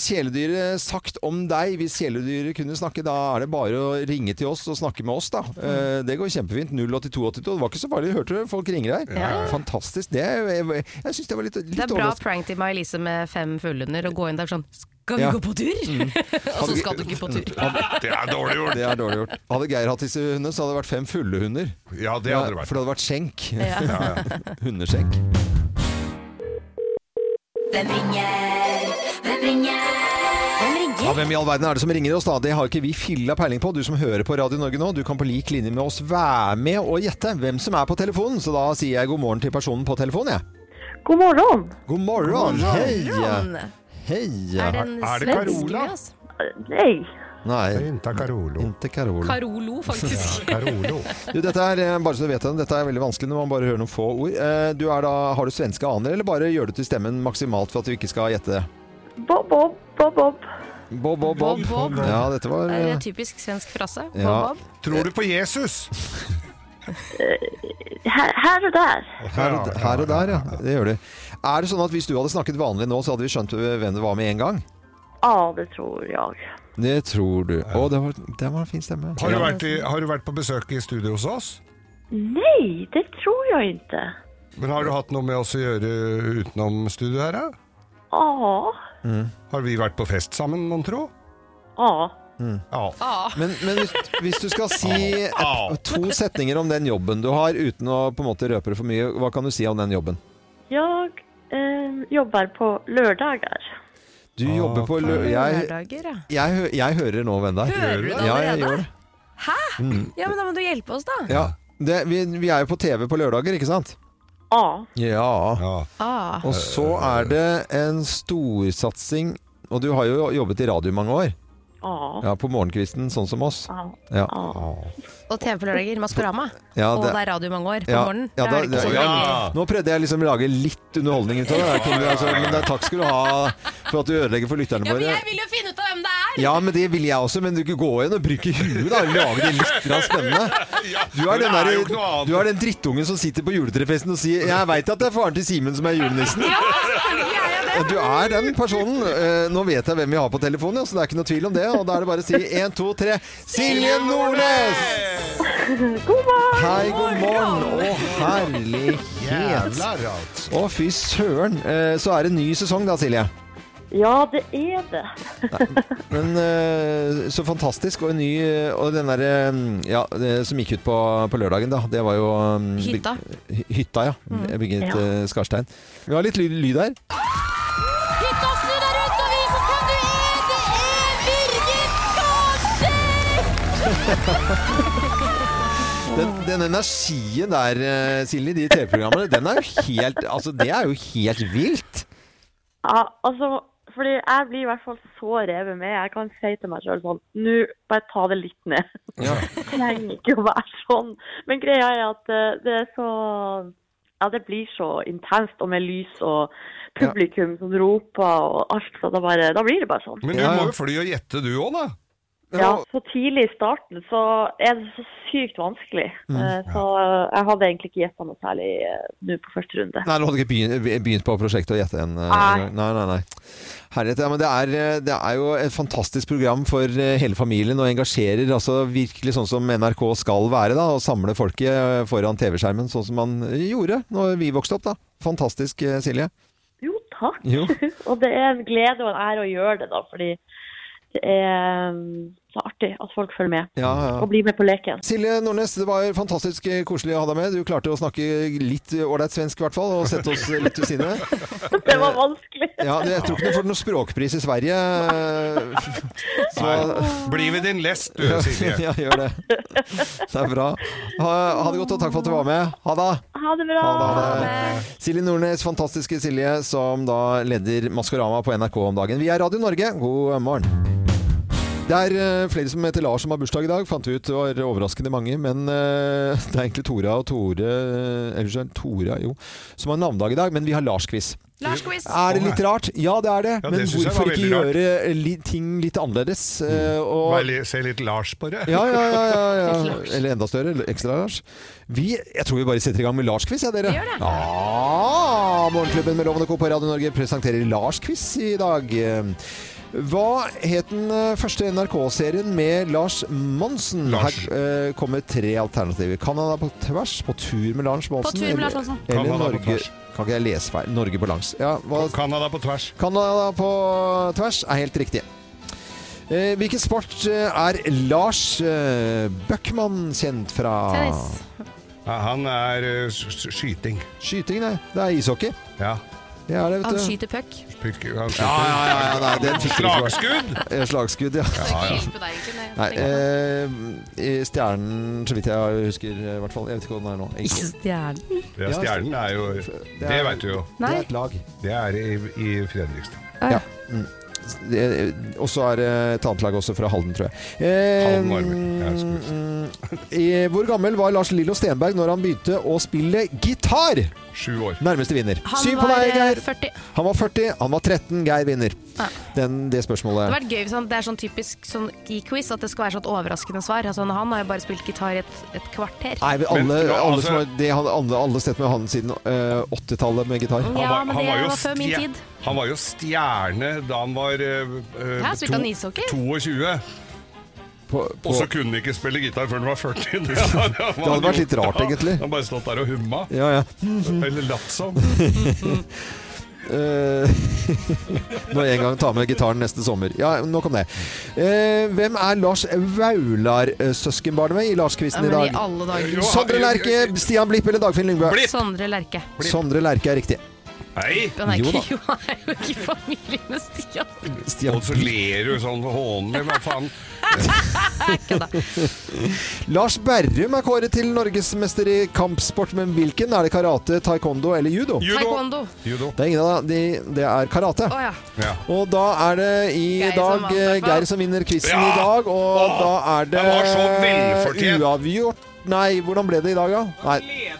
[SPEAKER 3] kjæledyret sagt om deg hvis kjæledyret kunne snakke? Da er det bare å ringe til oss og snakke med oss, da. Eh, Det går kjempefint. 08282. Det var ikke så farlig. Hørte du folk ringer her? Fantastisk. Det, er- jeg jeg syns det var litt, litt
[SPEAKER 4] Det er bra
[SPEAKER 3] overraskende.
[SPEAKER 4] prank til May-Lise med fem fullhunder og gå inn der sånn Skal vi
[SPEAKER 3] Ja. Mm.
[SPEAKER 4] gå på tur? og så skal du ikke på tur.
[SPEAKER 5] Det er dårlig gjort!
[SPEAKER 3] Det er dårlig gjort. Hadde Geir hatt disse hundene, så hadde det vært fem fulle hunder.
[SPEAKER 5] Ja, det hadde det vært.
[SPEAKER 3] For det hadde vært skjenk.
[SPEAKER 4] Ja.
[SPEAKER 3] Hundeskjenk.
[SPEAKER 11] Hvem ringer? Hvem ringer? Hvem ringer?
[SPEAKER 3] Ja, hvem i all verden er det som ringer oss da? Det har ikke vi filla peiling på. Du som hører på Radio Norge nå, du kan på lik linje med oss være med og gjette hvem som er på telefonen. Så da sier jeg god morgen til personen på telefonen, jeg.
[SPEAKER 9] God morgen.
[SPEAKER 3] God morgen!
[SPEAKER 4] Ron,
[SPEAKER 3] Hei!
[SPEAKER 4] Er det
[SPEAKER 3] Hei!
[SPEAKER 4] en
[SPEAKER 5] Er
[SPEAKER 4] svensk
[SPEAKER 5] det Carola?
[SPEAKER 4] med oss?
[SPEAKER 9] Nei.
[SPEAKER 3] Nei,
[SPEAKER 5] Inta Carolo.
[SPEAKER 3] inte Carola.
[SPEAKER 4] Carolo, faktisk.
[SPEAKER 5] Carolo.
[SPEAKER 3] Du, dette er, eh, bare så du vet det, dette er veldig vanskelig når man bare hører noen få ord. Eh, Du er da, har du svenske aner, eller bare gjør du til stemmen maksimalt for at du ikke skal gjette?
[SPEAKER 9] Bob, Bob, Bob, Bob.
[SPEAKER 3] Bob, bob, bob.
[SPEAKER 4] Bob, Bob.
[SPEAKER 3] Ja, dette var
[SPEAKER 4] Er det
[SPEAKER 3] eh,
[SPEAKER 4] en typisk svensk frase? Bob,
[SPEAKER 3] Ja.
[SPEAKER 4] Bob?
[SPEAKER 5] Tror du på Jesus?
[SPEAKER 9] Her, her og der.
[SPEAKER 3] her og, her og der, ja. Det gjør du. Er det sånn at hvis du hadde snakket vanlig nå, så hadde vi skjønt hvem det var med en gang?
[SPEAKER 9] Ja, det tror jeg.
[SPEAKER 3] Det tror du. Å, det var, det var en fin stemme.
[SPEAKER 5] Har du, vært i, har du vært på besøk i studio hos oss?
[SPEAKER 9] Nej, det tror jag inte.
[SPEAKER 5] Men har du hatt noe med oss å gjøre utenom studio her, da?
[SPEAKER 9] Ja,
[SPEAKER 5] Har vi vært på fest sammen, mon tro?
[SPEAKER 9] ja.
[SPEAKER 5] Ja.
[SPEAKER 3] Men, men hvis, hvis du skal si et, to setninger om den jobben du har, uten å på en måte røpe det for mye, hva kan du si om den jobben?
[SPEAKER 9] Jag eh, jobbar på lördagar.
[SPEAKER 3] Du jobber på lø... Jeg,
[SPEAKER 4] Ah. Lørdager, ja.
[SPEAKER 3] jeg, hø- jeg hører nå, venn der.
[SPEAKER 4] Hører du det
[SPEAKER 3] Ja, jeg
[SPEAKER 4] allerede?
[SPEAKER 3] gjør det.
[SPEAKER 4] Ja, men da må du hjelpe oss, da.
[SPEAKER 3] Ja. Det, vi, vi er jo på TV på lørdager, ikke sant?
[SPEAKER 9] Ja,
[SPEAKER 3] Ja.
[SPEAKER 5] ja.
[SPEAKER 4] Ah.
[SPEAKER 3] Og så er det en storsatsing Og du har jo jobbet i radio i mange år.
[SPEAKER 9] ja,
[SPEAKER 3] Ja, På morgenkvisten, sånn som oss.
[SPEAKER 9] ja.
[SPEAKER 3] Ja,
[SPEAKER 4] Og TV på lørdager, Maskorama.
[SPEAKER 3] ja,
[SPEAKER 4] og
[SPEAKER 3] det,
[SPEAKER 4] det er radio i mange år på
[SPEAKER 3] ja,
[SPEAKER 4] morgenen.
[SPEAKER 3] ja,
[SPEAKER 4] Da er
[SPEAKER 3] da-
[SPEAKER 4] det
[SPEAKER 3] det-
[SPEAKER 4] ikke så
[SPEAKER 3] ja.
[SPEAKER 4] lenge.
[SPEAKER 3] Nå prøvde jeg liksom å lage litt underholdning ut av det. Kim, altså, men det er takk skal du ha for at du ødelegger for lytterne
[SPEAKER 4] Ja, men
[SPEAKER 3] våre.
[SPEAKER 4] jeg vil jo finne ut av hvem det er!
[SPEAKER 3] Ja, men det vil jeg også, men du kan gå inn og bruke huet, da. Lage det litt grann spennende. Du er, den der,
[SPEAKER 5] men det er jo ikke noe annet.
[SPEAKER 3] du er den drittungen som sitter på juletrefesten og sier 'Jeg veit at det er faren til Simen som er julenissen'.
[SPEAKER 4] Ja, selvfølgelig er jeg det!
[SPEAKER 3] Du er den personen. Eh, Nå vet jeg hvem vi har på telefonen, ja, så det er ikke noe tvil om det. Og da er det bare å si 1, 2, 3 Silje Nordnes!
[SPEAKER 9] God morgen!
[SPEAKER 3] Hei, god morgen! Å, herlighet!
[SPEAKER 5] Jævlar, altså.
[SPEAKER 3] Å, fy søren. Eh, Så er det ny sesong da, Silje.
[SPEAKER 9] Ja, det är det.
[SPEAKER 3] Men eh, så fantastisk. Og en ny eh, Og den derre eh, ja, det som gikk ut på, på lørdagen, da. Det var jo eh, byg-
[SPEAKER 4] Hytta.
[SPEAKER 3] Hy- Hytta, ja.
[SPEAKER 11] Mm.
[SPEAKER 3] Bygget
[SPEAKER 9] Ja.
[SPEAKER 3] eh, Skarstein. Vi har litt lyd, lyd her.
[SPEAKER 11] Hytta snur deg rundt og vis oss hvem du er! Det er Birgit Karlsen!
[SPEAKER 3] Den, den energien der, eh, Silje, i de TV-programmene, den er jo helt Altså, det er jo helt vilt.
[SPEAKER 9] Ja, altså, fordi jeg blir i hvert fall så revet med. Jeg kan si til meg sjøl sånn Nå, bare ta det litt ned.
[SPEAKER 3] Ja.
[SPEAKER 9] Det trenger ikke å være sånn. Men greia er at eh, det er så Ja, det blir så intenst, og med lys og publikum som roper og alt. Så da, bare, da blir det bare sånn.
[SPEAKER 5] Men du
[SPEAKER 3] Ja, ja.
[SPEAKER 5] må jo fly og gjette, du òg, da.
[SPEAKER 9] Ja, så tidlig i starten så er det så sykt vanskelig. Eh, Så eh, jeg hadde egentlig ikke gjetta noe særlig eh, nå på første runde.
[SPEAKER 3] Nei, du hadde ikke begynt, begynt på prosjektet å gjette en eh,
[SPEAKER 9] Nei.
[SPEAKER 3] Nei, nei, nei. Herlighet, ja, men det er, eh, det er jo et fantastisk program for eh, hele familien og engasjerer altså virkelig sånn som NRK skal være, da, og samle folket eh, foran TV-skjermen, sånn som man gjorde når vi vokste opp, da. Fantastisk, eh, Silje.
[SPEAKER 9] Jo, takk.
[SPEAKER 3] Jo.
[SPEAKER 9] og det er en glede og en ære å gjøre det, da. Fordi er um, så artig at folk følger med.
[SPEAKER 3] Ja, ja.
[SPEAKER 9] Og blir med på leken.
[SPEAKER 3] Silje Nordnes, det var fantastisk eh, koselig å ha deg med. Du klarte å snakke litt ålreit svensk, i hvert fall, og sette oss litt ved siden av.
[SPEAKER 9] Det var vanskelig.
[SPEAKER 3] Ja, jeg tror ikke du får noen språkpris i Sverige. eh,
[SPEAKER 5] Nei, bli ved din lest, du, Silje.
[SPEAKER 3] ja, gjør det. Det er bra. Ha, ha det godt, og takk for at du var med. Ha det.
[SPEAKER 9] Ha det bra!
[SPEAKER 3] Silje Nordnes, fantastiske Silje, som da leder Maskorama på NRK om dagen. Vi er Radio Norge, god morgen. Det er eh, flere som heter Lars som har bursdag i dag, fant vi ut. Det var overraskende mange. Men eh, det er egentlig Tora og Tore eh, Eller så er det Tora, jo. Som har navnedag i dag. Men vi har Lars-quiz.
[SPEAKER 4] Lars-quiz.
[SPEAKER 3] Er det litt rart? Ja, det er det.
[SPEAKER 5] Ja, det
[SPEAKER 3] men
[SPEAKER 5] synes jeg var
[SPEAKER 3] hvorfor ikke
[SPEAKER 5] veldig rart.
[SPEAKER 3] gjøre li ting litt annerledes? eh, og-
[SPEAKER 5] Bare li- se litt Lars på det.
[SPEAKER 3] ja, ja, ja, ja, ja. Eller enda større. eller Ekstra Lars. Vi, jeg tror vi bare setter i gang med Lars-quiz, ja, dere.
[SPEAKER 11] Gjør det.
[SPEAKER 3] Ja, Morgenklubben med Lovende Co. på Radio Norge presenterer Lars-quiz i dag. Hva het den eh, første NRK-serien med Lars Monsen? Her eh, kommer tre alternativer. Canada på tvers, På tur med Lars Monsen.
[SPEAKER 5] tur med
[SPEAKER 3] eller-
[SPEAKER 5] Lars Monsen.
[SPEAKER 3] Eller
[SPEAKER 5] Canada på
[SPEAKER 3] Norge
[SPEAKER 5] tvers.
[SPEAKER 3] Kan ikke jeg lese feil? Norge på langs. Ja, hva-
[SPEAKER 5] Canada på tvers.
[SPEAKER 3] Canada på tvers er helt riktig. Eh, Hvilken sport eh, er Lars eh, Bøckmann kjent fra?
[SPEAKER 5] Ja, han er eh, s- s- skyting.
[SPEAKER 3] Skyting, nei. Det er ishockey.
[SPEAKER 5] Ja.
[SPEAKER 3] Det er det, vet
[SPEAKER 4] Han
[SPEAKER 3] du.
[SPEAKER 4] skyter puck.
[SPEAKER 5] Puck- han skyter.
[SPEAKER 3] Ja, ja, ja, ja, nei, den fikk vi ikke.
[SPEAKER 5] Slagskudd!
[SPEAKER 3] Eh, Slagskudd, ja. Nei, eh, i stjernen, så vidt jeg husker, eh, i hvert fall. Jeg vet ikke hva den er nå. Ikke.
[SPEAKER 4] Stjernen?
[SPEAKER 5] Ja, stjernen er jo
[SPEAKER 3] er-
[SPEAKER 5] Det veit du jo.
[SPEAKER 3] Nei. Det er et lag.
[SPEAKER 5] Det er i, i Fredrikstad.
[SPEAKER 3] Ja. Mm. Det- Og så er det et annet lag også fra Halden, tror jeg. Eh,
[SPEAKER 5] Halden var det vel. Ja, jeg
[SPEAKER 3] eh, hvor gammel var Lars Lillo Stenberg når han begynte å spille gitar?
[SPEAKER 5] Sju år.
[SPEAKER 3] Nærmeste vinner.
[SPEAKER 4] Han
[SPEAKER 3] Syv på
[SPEAKER 4] var
[SPEAKER 3] deg,
[SPEAKER 4] eh,
[SPEAKER 3] Geir.
[SPEAKER 4] 40.
[SPEAKER 3] Han var 40, han var 13. Geir vinner.
[SPEAKER 4] Ja.
[SPEAKER 3] Den, det
[SPEAKER 4] Det hadde
[SPEAKER 3] spørsmålet.
[SPEAKER 4] vært gøy hvis han, det er sånn typisk sånn i quiz at det skal være sånn overraskende svar. Altså, han har jo bare spilt gitar i et, et kvarter.
[SPEAKER 3] Nei, vi- alle,
[SPEAKER 5] Men,
[SPEAKER 3] alle,
[SPEAKER 5] altså-
[SPEAKER 3] som har, det, har alle, alle sett med han siden eh, 80-tallet med gitar.
[SPEAKER 5] Mm.
[SPEAKER 4] Ja, men det var før min
[SPEAKER 5] stje-
[SPEAKER 4] tid.
[SPEAKER 5] Han var jo stjerne da han var eh, eh,
[SPEAKER 4] Her spilte
[SPEAKER 5] to-
[SPEAKER 4] han ishockey.
[SPEAKER 5] 22.
[SPEAKER 3] på-
[SPEAKER 5] Og så kunne han ikke spille gitar før han var 40. Det hadde,
[SPEAKER 3] hadde vært litt rart, egentlig.
[SPEAKER 5] Han bare stått der og humma.
[SPEAKER 3] Ja, ja.
[SPEAKER 5] Eller latt som.
[SPEAKER 3] Eh, Når jeg en gang tar med gitaren neste sommer. Ja, nok om det. Eh, hvem er Lars Vaular-søskenbarnet med i Lars-quizen
[SPEAKER 4] Ja,
[SPEAKER 3] i
[SPEAKER 4] men i
[SPEAKER 3] dag?
[SPEAKER 4] alle dager.
[SPEAKER 3] Sondre Lerche, Stian Blipp eller Dagfinn Lyngbø?
[SPEAKER 4] Sondre Lerche.
[SPEAKER 3] Sondre Lerche er riktig.
[SPEAKER 5] Nei!
[SPEAKER 4] Han er
[SPEAKER 3] Jo
[SPEAKER 4] ikke,
[SPEAKER 3] da.
[SPEAKER 4] jo, han er jo ikke i familie med Stian.
[SPEAKER 3] Stian
[SPEAKER 5] Og så ler du sånn hånlig. Hva faen?
[SPEAKER 3] Lars Berrum er kåret til norgesmester i kampsport, men hvilken? Er det karate, taekwondo eller judo?
[SPEAKER 4] Taekwondo.
[SPEAKER 5] Judo.
[SPEAKER 3] Det er ingen av de, det er karate.
[SPEAKER 4] Å ja.
[SPEAKER 5] Ja.
[SPEAKER 3] Og da er det i
[SPEAKER 4] Geir som
[SPEAKER 3] dag
[SPEAKER 4] vant, i hvert fall.
[SPEAKER 3] Geir som vinner quizen
[SPEAKER 5] Ja!
[SPEAKER 3] i dag, og da er det
[SPEAKER 5] det var så velfortjent.
[SPEAKER 3] uavgjort. Nei, hvordan ble det i dag, da? Nei,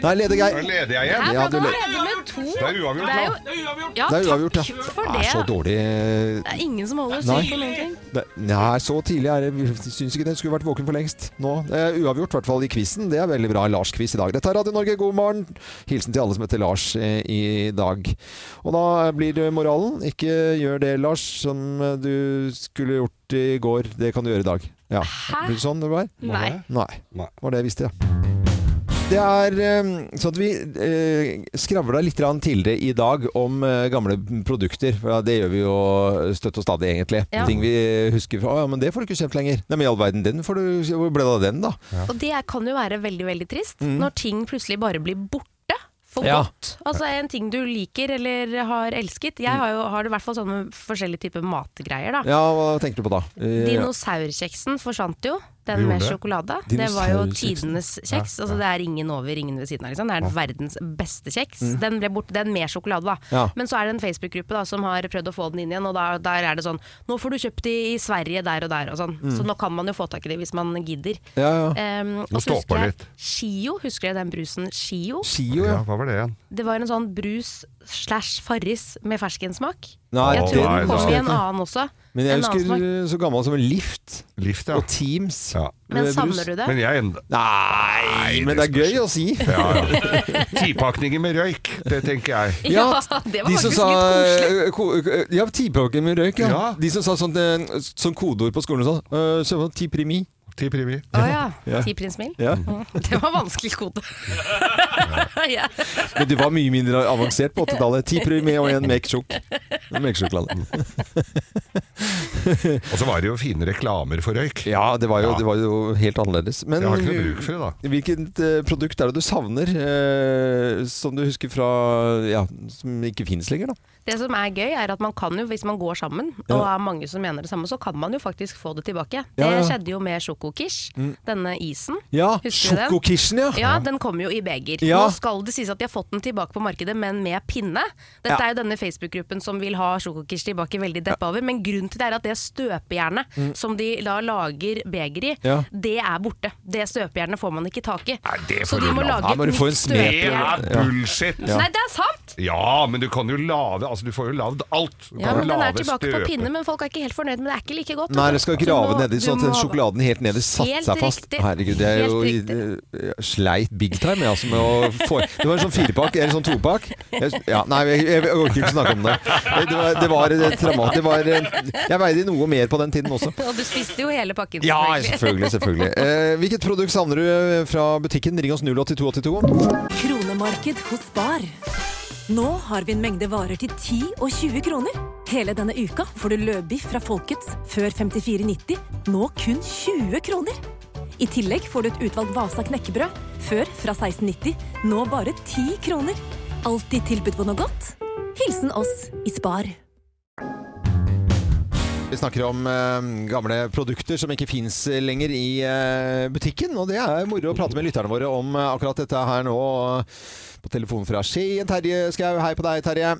[SPEAKER 3] Nei leder Geir.
[SPEAKER 5] Da leder jeg igjen.
[SPEAKER 4] Her
[SPEAKER 3] Ja,
[SPEAKER 4] var
[SPEAKER 3] du
[SPEAKER 4] det
[SPEAKER 3] le-
[SPEAKER 4] allerede med to.
[SPEAKER 5] Det er uavgjort,
[SPEAKER 4] Det er jo- Ja,
[SPEAKER 3] Det er uavgjort,
[SPEAKER 4] takk
[SPEAKER 3] ja.
[SPEAKER 4] for
[SPEAKER 3] Det
[SPEAKER 4] det.
[SPEAKER 3] er så dårlig eh,
[SPEAKER 4] Det er ingen som holder
[SPEAKER 3] Nei.
[SPEAKER 4] styr på noen ting.
[SPEAKER 3] det, Nei, så tidlig er det. Syns ikke den skulle vært våken for lengst nå. Det er uavgjort, i hvert fall i quizen. Det er veldig bra. Lars-quiz i dag. Dette er Radio Norge, god morgen. Hilsen til alle som heter Lars eh, i dag. Og da blir det moralen. Ikke gjør det, Lars, som eh, du skulle gjort i går. Det kan du gjøre i dag. Ja. Blir det sånn det var?
[SPEAKER 4] Nei.
[SPEAKER 3] Nei.
[SPEAKER 5] Nei.
[SPEAKER 3] Det var det jeg visste, ja. Det er eh, sånn at vi eh, skravla litt grann tidligere i dag om eh, gamle produkter. For ja, det gjør vi jo støtt og stadig, egentlig.
[SPEAKER 4] Ja.
[SPEAKER 3] Ting vi husker fra Å ja, men det får du ikke kjøpt lenger. Nei, men i all verden, den får du Hvor ble det av den, da?
[SPEAKER 4] Og det er- kan jo være veldig, veldig trist
[SPEAKER 3] Mm.
[SPEAKER 4] når ting plutselig bare blir borte for
[SPEAKER 3] Ja.
[SPEAKER 4] godt. Altså en ting du liker eller har elsket.
[SPEAKER 3] Mm.
[SPEAKER 4] Jeg har jo har det i hvert fall sånne forskjellige typer matgreier, da.
[SPEAKER 3] Ja, hva tenker du på da? Eh,
[SPEAKER 4] Dinosaurkjeksen forsvant jo. Den
[SPEAKER 3] Det
[SPEAKER 4] med
[SPEAKER 3] gjorde det.
[SPEAKER 4] sjokolade. Det var jo
[SPEAKER 3] Dinosaurkjeksen.
[SPEAKER 4] tidenes kjeks.
[SPEAKER 3] Ja,
[SPEAKER 4] Altså Det er ingen over, ingen ved siden av. Liksom. Det er
[SPEAKER 3] Ja.
[SPEAKER 4] verdens beste kjeks.
[SPEAKER 3] Mm.
[SPEAKER 4] Den ble borte, den med sjokolade, da.
[SPEAKER 3] Ja.
[SPEAKER 4] Men så er det en Facebook-gruppe da som har prøvd å få den inn igjen, og da, der er det sånn Nå får du kjøpt de i Sverige der og der og sånn.
[SPEAKER 3] Mm.
[SPEAKER 4] Så nå kan man jo få tak i de hvis man gidder.
[SPEAKER 3] Ja, ja.
[SPEAKER 4] Ehm,
[SPEAKER 5] Må
[SPEAKER 4] og så
[SPEAKER 5] stå på
[SPEAKER 4] husker jeg
[SPEAKER 5] litt.
[SPEAKER 4] Shio. Husker dere den brusen Shio?
[SPEAKER 3] Shio,
[SPEAKER 5] ja. Hva var det igjen?
[SPEAKER 4] Det var en sånn brus slash Farris med ferskensmak.
[SPEAKER 3] Nei,
[SPEAKER 4] jeg
[SPEAKER 3] den
[SPEAKER 4] tror den kom
[SPEAKER 3] husker
[SPEAKER 4] i
[SPEAKER 3] jeg
[SPEAKER 4] en
[SPEAKER 3] ikke.
[SPEAKER 4] annen også.
[SPEAKER 3] Men jeg
[SPEAKER 4] en annen
[SPEAKER 3] husker
[SPEAKER 4] smak.
[SPEAKER 3] eh, så gammel som en Lift.
[SPEAKER 5] Lift, ja.
[SPEAKER 3] Og Teams.
[SPEAKER 4] Men
[SPEAKER 3] Eh,
[SPEAKER 4] savner
[SPEAKER 3] brus.
[SPEAKER 4] du det?
[SPEAKER 5] Men jeg enda
[SPEAKER 3] Nei, men det er gøy å si.
[SPEAKER 5] Ja, ja. Tipakninger med røyk, det tenker jeg.
[SPEAKER 4] Ja, det var
[SPEAKER 3] de som
[SPEAKER 4] faktisk
[SPEAKER 3] sa, eh,
[SPEAKER 4] litt koselig.
[SPEAKER 3] ko- ko- Ja, tipåken med røyk, ja.
[SPEAKER 5] Ja.
[SPEAKER 3] De som sa sånt, eh, sånn kodeord på skolen og sånn. eh, Så var det ti primi.
[SPEAKER 5] Ti primi.
[SPEAKER 4] Å ja.
[SPEAKER 3] Ja.
[SPEAKER 4] Ti prinsmil?
[SPEAKER 3] Ja.
[SPEAKER 5] Mm.
[SPEAKER 4] Det var vanskelig kode. ja.
[SPEAKER 3] Men det var mye mindre avansert på 80-tallet. Ti primi og en make-sjokolade.
[SPEAKER 5] Og så var det jo fine reklamer for røyk.
[SPEAKER 3] Ja, det var jo, Det var jo helt annerledes. Men
[SPEAKER 5] Jeg har ikke noe bruk for det, da.
[SPEAKER 3] hvilket eh, produkt er det du savner, eh, som du husker fra Ja, som ikke finnes lenger, da?
[SPEAKER 4] Det som er gøy, er at man kan jo, hvis man går sammen,
[SPEAKER 3] Ja.
[SPEAKER 4] og er mange som mener det samme, så kan man jo faktisk få det tilbake.
[SPEAKER 3] Ja, ja.
[SPEAKER 4] Det skjedde jo med sjokokish,
[SPEAKER 3] Mm.
[SPEAKER 4] denne isen.
[SPEAKER 3] Ja,
[SPEAKER 4] Husker du den?
[SPEAKER 3] sjokokishen, ja.
[SPEAKER 4] Ja, den kommer jo i beger.
[SPEAKER 3] Ja.
[SPEAKER 4] Nå skal det sies at de har fått den tilbake på markedet, men med pinne. Dette
[SPEAKER 3] Ja.
[SPEAKER 4] er jo denne Facebook-gruppen som vil ha sjokokish tilbake veldig deppa over, men grunnen til det er at det støpejernet
[SPEAKER 11] Mm.
[SPEAKER 4] som de da lager beger i,
[SPEAKER 3] Ja.
[SPEAKER 4] det er borte. Det støpejernet får man ikke tak i.
[SPEAKER 5] det
[SPEAKER 4] så de må lage
[SPEAKER 5] Ja,
[SPEAKER 4] et nytt støpejern.
[SPEAKER 5] Det er bullshit!
[SPEAKER 4] Nei, det er sant!
[SPEAKER 5] Ja, men du kan jo lave Altså, du får jo lavd alt. Du
[SPEAKER 4] Ja,
[SPEAKER 5] kan
[SPEAKER 4] men Den
[SPEAKER 5] jo
[SPEAKER 4] er
[SPEAKER 5] lave
[SPEAKER 4] tilbake
[SPEAKER 5] støpe.
[SPEAKER 4] på pinne, men folk er ikke helt fornøyd med det. er ikke like godt.
[SPEAKER 3] Nei,
[SPEAKER 4] vet du.
[SPEAKER 3] det skal
[SPEAKER 4] Du
[SPEAKER 3] grave
[SPEAKER 4] må-
[SPEAKER 3] nedi,
[SPEAKER 4] du
[SPEAKER 3] sånn at den
[SPEAKER 4] må-
[SPEAKER 3] sjokoladen helt nedi satte
[SPEAKER 4] Helt
[SPEAKER 3] seg fast.
[SPEAKER 4] riktig.
[SPEAKER 3] Herregud, det er
[SPEAKER 4] Helt
[SPEAKER 3] jo i, eh, sleit big time, jeg, altså, med å få Det var en sånn firepakk, eller sånn topakk. Jeg- Ja, nei, jeg, jeg, jeg orker ikke snakke om det. Det det var, det var eh, traumat- Det var eh, Jeg veide noe mer på den tiden også.
[SPEAKER 4] Og du spiste jo hele pakken.
[SPEAKER 3] Ja, selvfølgelig. selvfølgelig. Eh, hvilket produkt savner du eh, fra butikken? Ring oss 08282.
[SPEAKER 12] Kronemarked hos Spar. Nå har vi en mengde varer til 10 og 20 kroner. Hele denne uka får du løbiff fra Folkets før 54,90, nå kun 20 kroner. I tillegg får du et utvalgt Vasa knekkebrød, før fra 16,90, nå bare 10 kroner. Alltid tilbud på noe godt. Hilsen oss i Spar.
[SPEAKER 3] Vi snakker om eh, gamle produkter som ikke fins lenger i eh, butikken. Og det er moro å prate med lytterne våre om eh, akkurat dette her nå. På telefonen fra Skien, Terje Skau. Hei på deg, Terje.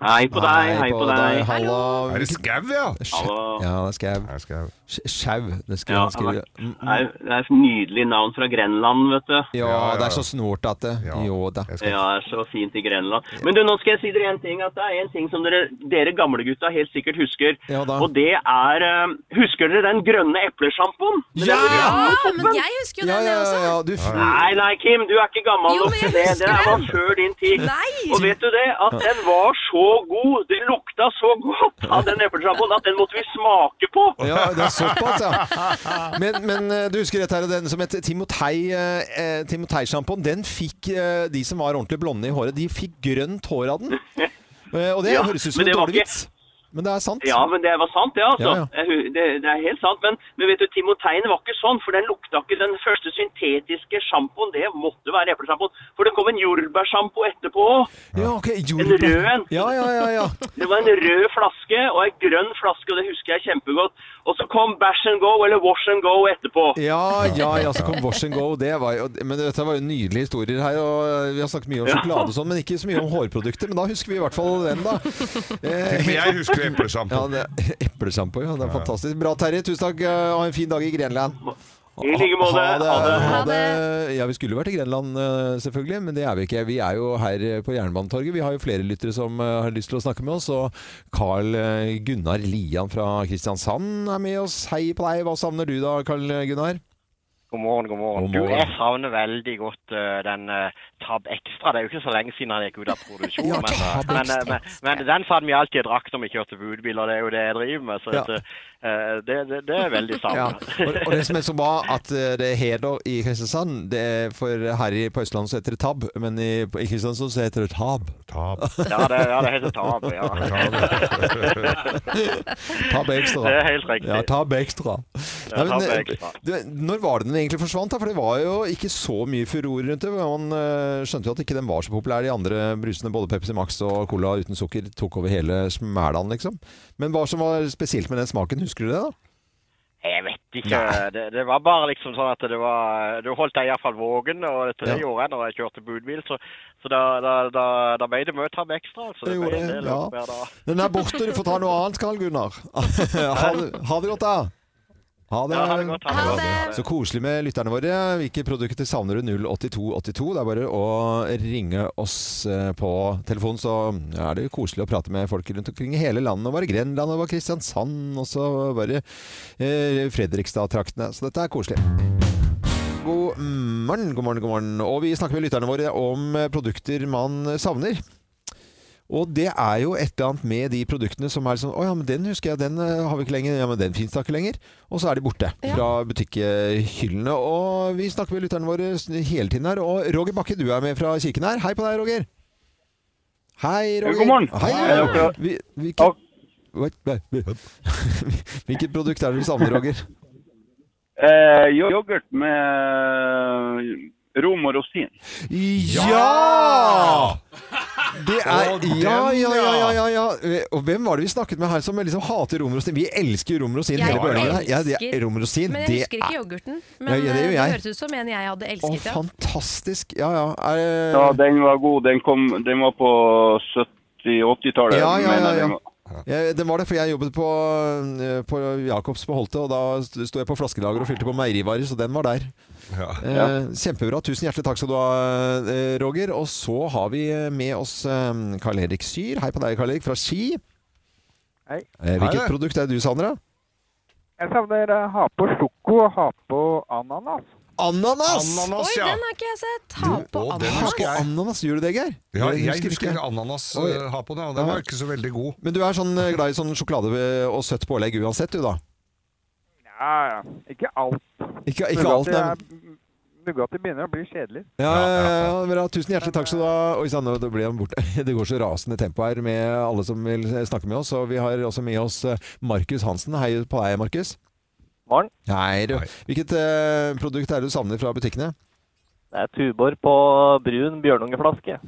[SPEAKER 13] Hei på deg, hei på deg.
[SPEAKER 3] Hallo.
[SPEAKER 13] Er det skau, ja? Hallo.
[SPEAKER 3] Ja, det er skau. Sk- Skau. Det skal
[SPEAKER 13] Ja,
[SPEAKER 3] man
[SPEAKER 13] han
[SPEAKER 3] skrive.
[SPEAKER 13] er, det er- det er et nydelig navn fra Grenland, vet du.
[SPEAKER 3] Ja, det er så snortete. Jo da.
[SPEAKER 13] Ja, det er så fint i Grenland. Men du, nå skal jeg si dere en ting, at det er en ting som dere, dere gamle gutta helt sikkert husker. Og det er, eh, husker dere den grønne eplesjampoen?
[SPEAKER 3] Ja!
[SPEAKER 4] Ja, men jeg husker jo den, jeg også.
[SPEAKER 3] ja, du f-
[SPEAKER 13] Nei, nei, Kim, du er ikke gammel
[SPEAKER 4] Jo,
[SPEAKER 13] nok
[SPEAKER 4] men
[SPEAKER 13] til
[SPEAKER 4] jeg
[SPEAKER 13] det.
[SPEAKER 4] husker
[SPEAKER 13] Det der var
[SPEAKER 4] den.
[SPEAKER 13] før din tid.
[SPEAKER 4] Nei.
[SPEAKER 13] Og vet du det, at den var så god, det lukta så godt av den eplesjampoen at den måtte vi smake på.
[SPEAKER 3] Ja, det er såpass, ja. Men, men eh, du husker dette her, den som het Timotei, eh, Timotei-sjampoen, den fikk eh, de som var ordentlig blonde i håret, de fikk grønt hår av den. Eh, Og det
[SPEAKER 13] Ja,
[SPEAKER 3] høres ut som
[SPEAKER 13] men
[SPEAKER 3] en
[SPEAKER 13] det var
[SPEAKER 3] dårlig
[SPEAKER 13] ikke-
[SPEAKER 3] vits. Men det er sant.
[SPEAKER 13] Ja, men det var sant, det, altså.
[SPEAKER 3] Ja, ja.
[SPEAKER 13] Jeg hu- Det, det er helt sant. Men, men vet du, timoteien var ikke sånn, for den lukta ikke den første syntetiske sjampoen. Det måtte være eplesjampoen. For det kom en jordbærsjampo etterpå òg.
[SPEAKER 3] Ja, ok,
[SPEAKER 13] En
[SPEAKER 3] jordbær.
[SPEAKER 13] rød en.
[SPEAKER 3] Ja, ja, ja, ja.
[SPEAKER 13] Det var en rød flaske og en grønn flaske, og det husker jeg kjempegodt. Og så kom Bash and Go, eller Wash and Go, etterpå.
[SPEAKER 3] Ja, ja, ja, så kom Wash and Go. Det var jo, men dette var jo nydelige historier her. Og eh, vi har snakket mye om
[SPEAKER 13] Ja.
[SPEAKER 3] sjokolade og sånn, men ikke så mye om hårprodukter. Men da husker vi i hvert fall den, da. Eh,
[SPEAKER 5] Til og med jeg husker eplesjampo.
[SPEAKER 3] Ja, det- eplesjampo, ja. Det er
[SPEAKER 5] Ja.
[SPEAKER 3] fantastisk. Bra, Terje. Tusen takk. eh, Ha en fin dag i Grenland.
[SPEAKER 13] I like måte.
[SPEAKER 3] Ha det.
[SPEAKER 13] Ha det.
[SPEAKER 3] Ha det. Ja, vi skulle vært i Grenland, eh, selvfølgelig, men det er vi ikke. Vi er jo her eh, på Jernbanetorget. Vi har jo flere lyttere som eh, har lyst til å snakke med oss. Og Carl eh, Gunnar Lian fra Kristiansand er med oss. Hei på deg. Hva savner du da, Carl eh, Gunnar?
[SPEAKER 14] God morgen, god morgen.
[SPEAKER 3] God
[SPEAKER 14] Du,
[SPEAKER 3] morgen.
[SPEAKER 14] jeg savner veldig godt eh, den eh, Tab Extra. Det er jo ikke så lenge siden han gikk ut av produksjon,
[SPEAKER 3] Ja,
[SPEAKER 14] men, eh,
[SPEAKER 3] Tab
[SPEAKER 14] men, eh, men, men den satt vi alltid i drakt når vi kjørte budbil, og det er jo det jeg driver med. Så
[SPEAKER 3] Ja.
[SPEAKER 14] at, eh, det, det, det er veldig
[SPEAKER 3] Ja.
[SPEAKER 14] savnet.
[SPEAKER 3] Og, og det som er så bra, at eh, det er heder i Kristiansand. Det er for her i, på Østlandet så heter det tab, men i, i Kristiansand så heter det tab.
[SPEAKER 5] Tab.
[SPEAKER 14] Ja, det, ja, det heter Tab, ja.
[SPEAKER 3] tab ekstra.
[SPEAKER 14] Det er helt riktig.
[SPEAKER 3] Ja, tab ekstra.
[SPEAKER 14] Ja,
[SPEAKER 3] Nei, men,
[SPEAKER 14] tab
[SPEAKER 3] eh,
[SPEAKER 14] ekstra.
[SPEAKER 3] det- når var det den egentlig forsvant? da? For det var jo ikke så mye furore rundt det. Man eh, skjønte jo at ikke den var så populær. De andre brusene, både Pepsi Max og Cola uten sukker, tok over hele smælaen, liksom. Men hva som var spesielt med den smaken, husker du det? da?
[SPEAKER 14] Jeg vet ikke. Det, det var bare liksom sånn at det var Du holdt deg iallfall våken, og til det
[SPEAKER 3] Ja.
[SPEAKER 14] gjorde jeg når jeg kjørte budbil, så, så da, da, da, da ble det mye Tab Extra. Altså.
[SPEAKER 3] Det gjorde
[SPEAKER 14] ble en
[SPEAKER 3] det,
[SPEAKER 14] del
[SPEAKER 3] ja.
[SPEAKER 14] opp hver dag.
[SPEAKER 3] Den er borte, du får ta noe annet, Karl Gunnar. Ha det, ha det godt, da. Ha det.
[SPEAKER 14] Ja, ha det godt, ha det godt. Ha
[SPEAKER 4] Eh,
[SPEAKER 14] det.
[SPEAKER 3] Så koselig med lytterne våre. Hvilke produkter savner du? 08282. Det er bare å ringe oss eh, på telefonen, så er det jo koselig å prate med folk rundt omkring i hele landet. Og var det Grenland, og var det Kristiansand, og så var det eh, Fredrikstad-traktene. Så dette er koselig. God morgen, god morgen, god morgen. Og vi snakker med lytterne våre om eh, produkter man savner. Og det er jo et eller annet med de produktene som er sånn Å ja, men den husker jeg, den eh, har vi ikke lenger. Ja, men den fins da ikke lenger. Og så er de borte fra butikkhyllene. Og vi snakker med lytterne våre s- hele tiden her. Og Roger Bakke, du er med fra kirken her. Hei på deg, Roger. Hei, Roger.
[SPEAKER 15] God morgen.
[SPEAKER 3] Hei,
[SPEAKER 15] Er dere-
[SPEAKER 3] Roger. Vi, hvilke, Hvilket produkt er det du savner, Roger?
[SPEAKER 15] Eh, yoghurt med rom og rosin.
[SPEAKER 3] Ja! Det er
[SPEAKER 15] Og den,
[SPEAKER 3] Ja, ja, ja, ja, ja, ja. Og hvem var det vi snakket med her som liksom hater rom og rosin? Vi elsker jo rom og rosin,
[SPEAKER 4] Jeg
[SPEAKER 3] hele bølgen. her. Ja, det
[SPEAKER 4] elsker-
[SPEAKER 3] er rom og rosin.
[SPEAKER 4] Men jeg
[SPEAKER 3] det
[SPEAKER 4] husker ikke
[SPEAKER 3] er-
[SPEAKER 4] yoghurten. Men eh,
[SPEAKER 3] Ja, ja, det
[SPEAKER 4] det,
[SPEAKER 3] gjør jeg.
[SPEAKER 4] høres ut som en jeg hadde
[SPEAKER 3] Å,
[SPEAKER 4] elsket. ja.
[SPEAKER 3] fantastisk. Ja, ja. Er,
[SPEAKER 15] Ja, den var god. Den, kom, den var på 70-80-tallet.
[SPEAKER 3] Ja, ja,
[SPEAKER 15] mener
[SPEAKER 3] ja,
[SPEAKER 15] jeg den
[SPEAKER 9] eh,
[SPEAKER 3] ja.
[SPEAKER 15] var.
[SPEAKER 3] Ja, Eh, det var det, for jeg jobbet på, eh, på Jacobs på Holte, og da st- sto jeg på flaskelager og fylte på meierivarer, så den var der. Eh,
[SPEAKER 15] Ja.
[SPEAKER 3] Kjempebra. Tusen hjertelig takk skal du ha, eh, Roger. Og så har vi eh, med oss eh, Karl-Erik Syr. Hei på deg, Karl-Erik, fra Ski.
[SPEAKER 16] Hei.
[SPEAKER 3] Eh, Hvilket
[SPEAKER 16] Hei.
[SPEAKER 3] produkt er det du savner, da?
[SPEAKER 16] Jeg savner eh, ha på sjoko og ha på ananas.
[SPEAKER 3] Ananas!
[SPEAKER 4] Oi, den har ikke jeg sett! Ha på
[SPEAKER 3] Ha
[SPEAKER 4] ananas.
[SPEAKER 3] på ananas. Gjør du det, Geir?
[SPEAKER 5] Ja,
[SPEAKER 3] Du
[SPEAKER 5] jeg
[SPEAKER 3] ikke?
[SPEAKER 5] husker ananas
[SPEAKER 3] Oi.
[SPEAKER 5] eh, ha på det, og den
[SPEAKER 3] Ja.
[SPEAKER 5] var ikke så veldig god.
[SPEAKER 3] Men du er sånn eh, glad i sånn sjokolade og søtt pålegg uansett, du da?
[SPEAKER 16] Ja, ja. Ikke alt.
[SPEAKER 3] Ikke, ikke alt, nei. men-
[SPEAKER 16] Nugatti begynner å bli kjedelig.
[SPEAKER 3] Ja, ja, ja, bra. Tusen hjertelig takk skal du ha. Oi sann, nå ble han borte. Det går så rasende tempo her med alle som vil snakke med oss. Og vi har også med oss eh, Markus Hansen. Hei på deg, Markus.
[SPEAKER 17] Morgen.
[SPEAKER 3] Hei, du. Hvilket eh, produkt er det du savner fra butikkene?
[SPEAKER 17] Det er Tuborg på brun bjørnungeflaske.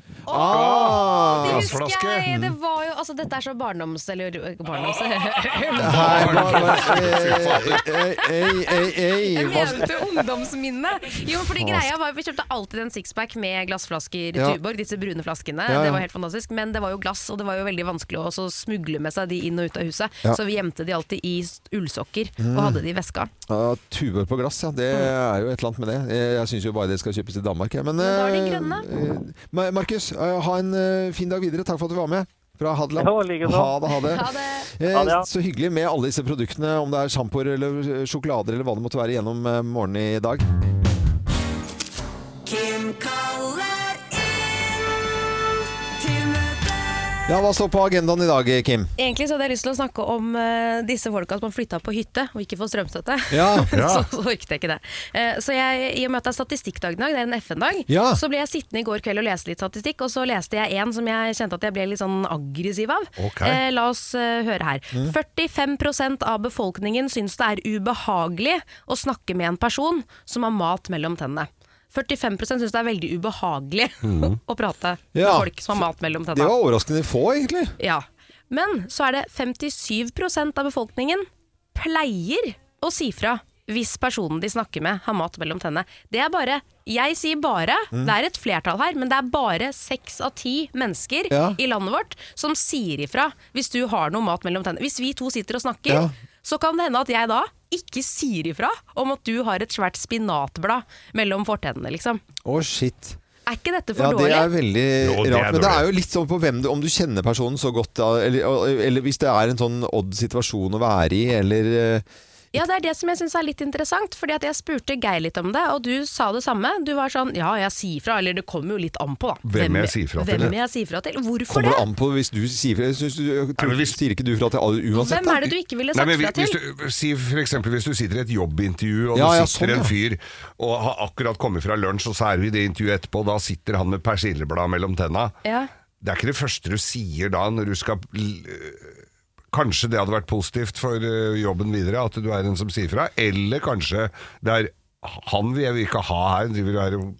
[SPEAKER 3] Ah,
[SPEAKER 4] Det husker jeg! Det var jo, altså, dette er så barndoms... Eller ikke barndoms...
[SPEAKER 3] Hei, hva, hva, eh, eh, eh, eh, eh,
[SPEAKER 4] Jeg
[SPEAKER 3] hva-
[SPEAKER 4] mente ungdomsminne! Jo, fordi greia var jo Vi kjøpte alltid en sixpack med glassflasker
[SPEAKER 3] Ja.
[SPEAKER 4] Tuborg, disse brune flaskene.
[SPEAKER 3] Ja, ja.
[SPEAKER 4] Det var helt fantastisk. Men det var jo glass, og det var jo veldig vanskelig å også smugle med seg de inn og ut av huset.
[SPEAKER 3] Ja.
[SPEAKER 4] Så vi gjemte de alltid i s- ullsokker
[SPEAKER 3] Mm.
[SPEAKER 4] og hadde de i veska.
[SPEAKER 3] Ja, Tuber på glass, ja. Det
[SPEAKER 4] Mm.
[SPEAKER 3] er jo et eller annet med det. Eh, Jeg syns jo bare det skal kjøpes i Danmark. Ja. Men,
[SPEAKER 4] da er de
[SPEAKER 3] eh,
[SPEAKER 4] grønne.
[SPEAKER 3] eh, Ma- Markus, eh, ha en eh, fin dag videre. Takk for at du var med. Fra Hadeland.
[SPEAKER 17] Ja, like så.
[SPEAKER 3] ha det, ha det.
[SPEAKER 17] Ha det.
[SPEAKER 3] Eh,
[SPEAKER 17] Ha det, ja.
[SPEAKER 3] Så hyggelig med alle disse produktene, om det er sjampoer eller eh, sjokolader eller hva det måtte være gjennom eh, morgenen i dag.
[SPEAKER 11] Kim kaller inn til møte.
[SPEAKER 3] Ja, Hva står på agendaen i dag, Kim?
[SPEAKER 4] Egentlig så hadde jeg lyst til å snakke om eh, disse folka som flytta på hytte og ikke får strømstøtte.
[SPEAKER 3] Ja,
[SPEAKER 4] Men
[SPEAKER 3] ja.
[SPEAKER 4] så, så orket jeg ikke det. Eh, så jeg, i og med at det er statistikkdag i dag, det er en FN-dag,
[SPEAKER 11] Ja.
[SPEAKER 4] så ble jeg sittende i går kveld og lese litt statistikk, og så leste jeg en som jeg kjente at jeg ble litt sånn aggressiv av.
[SPEAKER 11] Ok.
[SPEAKER 4] Eh, la oss eh, høre her.
[SPEAKER 11] Mm.
[SPEAKER 4] 45 av befolkningen syns det er ubehagelig å snakke med en person som har mat mellom tennene. 45 syns det er veldig ubehagelig
[SPEAKER 3] Mhm.
[SPEAKER 4] å prate med
[SPEAKER 3] Ja.
[SPEAKER 4] folk som har mat mellom tennene.
[SPEAKER 3] Det var overraskende få, egentlig.
[SPEAKER 4] Ja. Men så er det 57 av befolkningen pleier å si fra hvis personen de snakker med har mat mellom tennene. Det er bare Jeg sier bare,
[SPEAKER 11] Mm.
[SPEAKER 4] det er et flertall her, men det er bare seks av ti mennesker
[SPEAKER 11] Ja.
[SPEAKER 4] i landet vårt som sier ifra hvis du har noe mat mellom tennene. Hvis vi to sitter og snakker,
[SPEAKER 11] Ja.
[SPEAKER 4] så kan det hende at jeg da ikke sier ifra om at du har et svært spinatblad mellom fortennene, liksom.
[SPEAKER 3] Å, shit.
[SPEAKER 4] Er ikke dette for
[SPEAKER 3] Ja, det
[SPEAKER 4] dårlig?
[SPEAKER 3] er veldig
[SPEAKER 5] Jo, det er
[SPEAKER 3] rart. Men det
[SPEAKER 5] dårlig.
[SPEAKER 3] er jo litt sånn på hvem du, om du kjenner personen så godt, da, eller, eller hvis det er en sånn odd situasjon å være i, eller eh,
[SPEAKER 4] Ja, det er det som jeg syns er litt interessant, fordi at jeg spurte Geir litt om det, og du sa det samme. Du var sånn ja, jeg sier fra, eller det kommer jo litt an på, da.
[SPEAKER 3] Hvem jeg sier fra til,
[SPEAKER 4] Hvem
[SPEAKER 3] ja.
[SPEAKER 4] jeg sier fra til. Hvorfor
[SPEAKER 3] Kommer
[SPEAKER 4] det?
[SPEAKER 3] det an på hvis du sier fra? Jeg synes du, jeg tror, sier ikke du fra til alle uansett?
[SPEAKER 4] Hvem
[SPEAKER 3] da?
[SPEAKER 4] er det du ikke ville
[SPEAKER 5] Nei,
[SPEAKER 4] sagt
[SPEAKER 5] men
[SPEAKER 4] fra
[SPEAKER 5] hvis, hvis
[SPEAKER 4] til?
[SPEAKER 5] du, si for eksempel hvis du sitter i et jobbintervju, og
[SPEAKER 3] Ja, ja,
[SPEAKER 5] det sitter
[SPEAKER 3] sånn, ja.
[SPEAKER 5] en fyr og har akkurat kommet fra lunsj, og så er du i det intervjuet etterpå, og da sitter han med persilleblad mellom tenna.
[SPEAKER 4] Ja.
[SPEAKER 5] Det er ikke det første du sier da når du skal l- øh, Kanskje det hadde vært positivt for øh, jobben videre, at du er en som sier fra. Eller kanskje det er han vil jeg ikke ha her, driver her og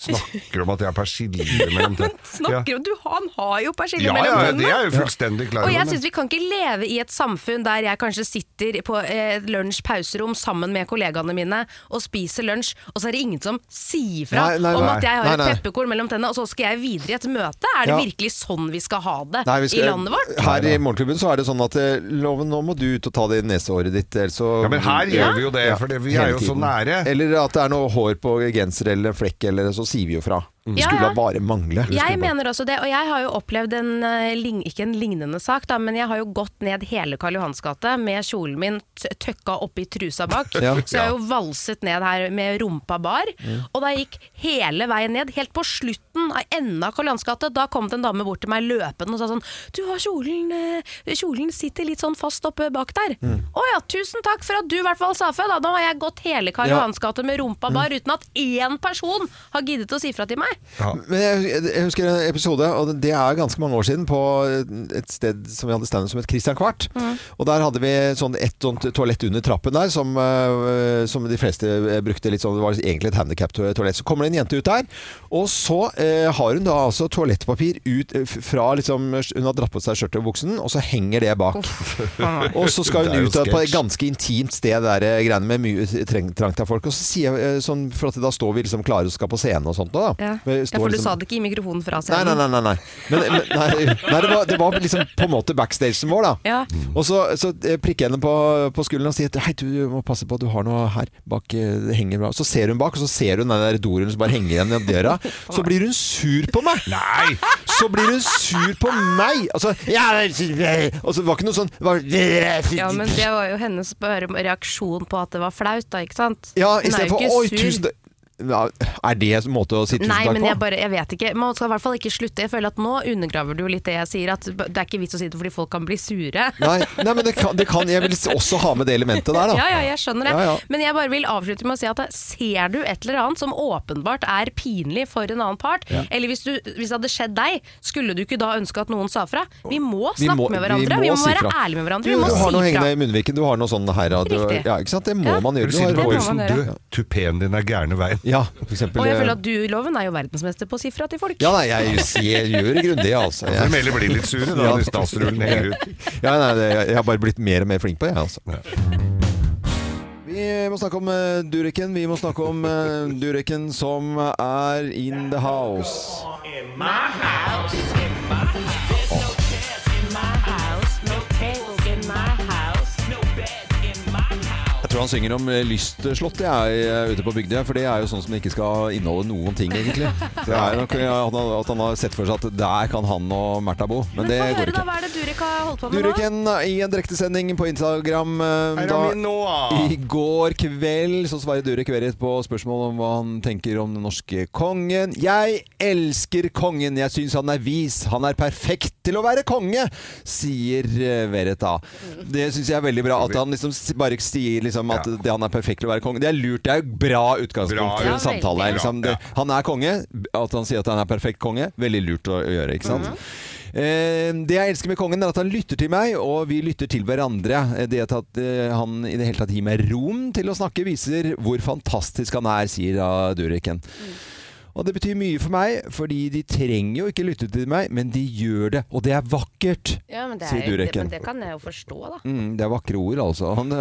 [SPEAKER 5] snakker om at jeg har persille mellom tenna.
[SPEAKER 4] Snakker om du, Han har jo persille
[SPEAKER 5] Ja,
[SPEAKER 4] mellom
[SPEAKER 5] ja, ja,
[SPEAKER 4] tennene!
[SPEAKER 5] det er jeg jo fullstendig klar
[SPEAKER 4] Og
[SPEAKER 5] over,
[SPEAKER 4] jeg
[SPEAKER 5] men-
[SPEAKER 4] syns vi kan ikke leve i et samfunn der jeg kanskje sitter på et lunsj-pauserom sammen med kollegaene mine og spiser lunsj, og så er det ingen som sier fra
[SPEAKER 3] Nei, nei,
[SPEAKER 4] om
[SPEAKER 3] nei.
[SPEAKER 4] at jeg har
[SPEAKER 3] Nei, nei.
[SPEAKER 4] et pepperkorn mellom tennene, og så skal jeg videre i et møte. Er det
[SPEAKER 3] Ja.
[SPEAKER 4] virkelig sånn vi skal ha det
[SPEAKER 3] Nei, vi skal-
[SPEAKER 4] i landet vårt?
[SPEAKER 3] Her i Morgenklubben så er det sånn at eh, Loven, nå må du ut og ta det nesehåret ditt. Eller så,
[SPEAKER 5] Ja, men her gjør vi jo det, for det- vi er
[SPEAKER 3] hele
[SPEAKER 5] jo så
[SPEAKER 3] tiden.
[SPEAKER 5] nære.
[SPEAKER 3] Eller at det er noe hår på genser eller en flekk, eller så sier vi jo fra. Det
[SPEAKER 4] Ja,
[SPEAKER 3] skulle
[SPEAKER 4] ja.
[SPEAKER 3] da bare mangle.
[SPEAKER 4] Jeg mener også det, og jeg har jo opplevd en, eh, lign- ikke en lignende sak, da, men jeg har jo gått ned hele Karl Johans gate med kjolen min t- tøkka oppi trusa bak.
[SPEAKER 11] Ja.
[SPEAKER 4] Så jeg har jo valset ned her med rumpa bar.
[SPEAKER 11] Mm.
[SPEAKER 4] Og da jeg gikk hele veien ned, helt på slutten av enden av Karl Johans gate, da kom det en dame bort til meg løpende og sa sånn Du har kjolen eh, Kjolen sitter litt sånn fast oppe bak der. Å
[SPEAKER 11] Mm.
[SPEAKER 4] ja, tusen takk for at du i hvert fall sa fra, da. Nå har jeg gått hele Karl
[SPEAKER 11] Ja. Mm.
[SPEAKER 4] Johans gate med rumpa bar uten at én person har giddet å si fra til meg.
[SPEAKER 3] Men jeg, jeg husker en episode, og det er ganske mange år siden, på et sted som vi hadde standup som het Christian Kvart. Og der hadde vi sånn et sånt toalett under trappen der, som, eh, som de fleste eh, brukte litt sånn Det var egentlig et handikap-toalett. Så kommer det en jente ut der, og så eh, har hun da altså toalettpapir ut eh, fra liksom Hun har dratt på seg skjørtet og buksen, og så henger det bak. og så skal
[SPEAKER 5] Det er
[SPEAKER 3] hun ut
[SPEAKER 5] jo
[SPEAKER 3] av- på et
[SPEAKER 5] sketsj.
[SPEAKER 3] ganske intimt sted, det der eh, greiene med mye treng, trangt av folk. Og så sier jeg eh, sånn, for at da står vi liksom klare og skal på scenen og sånt nå, da.
[SPEAKER 4] Ja.
[SPEAKER 3] Vi
[SPEAKER 4] ja,
[SPEAKER 3] står
[SPEAKER 4] for du
[SPEAKER 3] liksom-
[SPEAKER 4] sa det ikke i mikrofonen fra
[SPEAKER 3] Nei,
[SPEAKER 4] scenen.
[SPEAKER 3] nei, nei. nei, nei. Men, men, nei, nei det, var, det var liksom på en måte backstagen vår, da.
[SPEAKER 4] Ja.
[SPEAKER 3] Og så, så eh, prikker jeg henne på, på skulderen og sier Hei, du må passe på at du har noe her bak eh, Det henger bra. Så ser hun bak, og så ser hun den der dorullen som bare henger igjen i døra. Så blir hun sur på meg!
[SPEAKER 5] Nei!
[SPEAKER 3] Så blir hun sur på meg! Altså, ja, og så var ikke noe sånn det var,
[SPEAKER 4] Ja, men det var jo hennes bare reaksjon på at det var flaut, da, ikke sant? Hun
[SPEAKER 3] Ja,
[SPEAKER 4] er jo
[SPEAKER 3] istedenfor
[SPEAKER 4] ikke
[SPEAKER 3] Oi,
[SPEAKER 4] sur.
[SPEAKER 3] tusen takk ja, Er det en måte å si tusen
[SPEAKER 4] Nei,
[SPEAKER 3] takk
[SPEAKER 4] men
[SPEAKER 3] på?
[SPEAKER 4] jeg, bare, jeg vet ikke. Man skal i hvert fall ikke slutte. Jeg føler at nå undergraver du jo litt det jeg sier, at det er ikke vits å si det fordi folk kan bli sure.
[SPEAKER 3] Nei, nei, men det kan, det kan Jeg vil også ha med det elementet der, da.
[SPEAKER 4] Ja, ja, jeg skjønner det.
[SPEAKER 3] Ja, ja.
[SPEAKER 4] Men jeg bare vil avslutte med å si at ser du et eller annet som åpenbart er pinlig for en annen part,
[SPEAKER 3] Ja.
[SPEAKER 4] eller hvis, du, hvis det hadde skjedd deg, skulle du ikke da ønske at noen sa fra? Vi må
[SPEAKER 3] Vi
[SPEAKER 4] snakke
[SPEAKER 3] må-
[SPEAKER 4] med hverandre, vi må,
[SPEAKER 3] si
[SPEAKER 4] være
[SPEAKER 3] fra.
[SPEAKER 4] ærlige med hverandre.
[SPEAKER 3] Du,
[SPEAKER 4] Vi må
[SPEAKER 3] du har noe
[SPEAKER 4] si fra.
[SPEAKER 3] hengende i munnviken, du har noe sånn her ja, du,
[SPEAKER 4] Riktig.
[SPEAKER 3] ja, ikke sant? Det må
[SPEAKER 4] Ja.
[SPEAKER 3] man gjøre.
[SPEAKER 5] Du sier
[SPEAKER 3] har-
[SPEAKER 5] på
[SPEAKER 4] Det må man
[SPEAKER 5] Wilson,
[SPEAKER 4] gjøre.
[SPEAKER 5] du, tupeen din er gærne veien.
[SPEAKER 3] Ja, for eksempel. eh,
[SPEAKER 4] Og jeg føler at du, Loven, er jo verdensmester på å si fra til folk.
[SPEAKER 3] Ja, nei, jeg, sier- jeg gjør grundig, altså.
[SPEAKER 5] Ja, for de heller blir litt sure da,
[SPEAKER 3] Ja.
[SPEAKER 5] når statsrullen henger ut.
[SPEAKER 3] Ja, nei, det, jeg har bare blitt mer og mer flink på det, jeg, altså. Vi må snakke om eh, Dureken. Vi må snakke om eh, Dureken som er in the house. Jeg tror han synger om eh, lystslott jeg, eh, ute på bygda, for det er jo sånn som det ikke skal inneholde noen ting, egentlig. Det er nok eh, at han- at han har sett for seg at der kan han og Märtha bo, men det
[SPEAKER 4] Hør da,
[SPEAKER 3] går ikke.
[SPEAKER 4] hva er det Durek har holdt på med nå?
[SPEAKER 3] Dureken i en direktesending på Instagram. eh,
[SPEAKER 4] vi nå,
[SPEAKER 5] ah?
[SPEAKER 3] I går kveld så svarer Durek Verit på spørsmål om hva han tenker om den norske kongen. Jeg elsker kongen, jeg syns han er vis, han er perfekt til å være konge, sier eh, Verit da. Det syns jeg er veldig bra, at han liksom s- bare sier liksom at det, han er perfekt til å være konge. Det er lurt, det er jo bra
[SPEAKER 5] Bra,
[SPEAKER 3] utgangspunkt for
[SPEAKER 5] ja.
[SPEAKER 3] en samtale. her, Liksom. Det, han er konge, at han sier at han er perfekt konge, veldig lurt å gjøre, ikke
[SPEAKER 5] Mhm.
[SPEAKER 3] sant? Eh, Det jeg elsker med kongen, er at han lytter til meg, og vi lytter til hverandre. Eh, Det at eh, han i det hele tatt gir meg rom til å snakke, viser hvor fantastisk han er, sier da Dureken.
[SPEAKER 5] Mm.
[SPEAKER 3] Og det betyr mye for meg, fordi de trenger jo ikke lytte til meg, men de gjør det. Og det er vakkert,
[SPEAKER 4] Ja, men det, er,
[SPEAKER 3] sier
[SPEAKER 4] det,
[SPEAKER 3] Dureken.
[SPEAKER 4] men det kan jeg jo forstå, da.
[SPEAKER 3] Mm, det er vakre ord, altså. Han ø,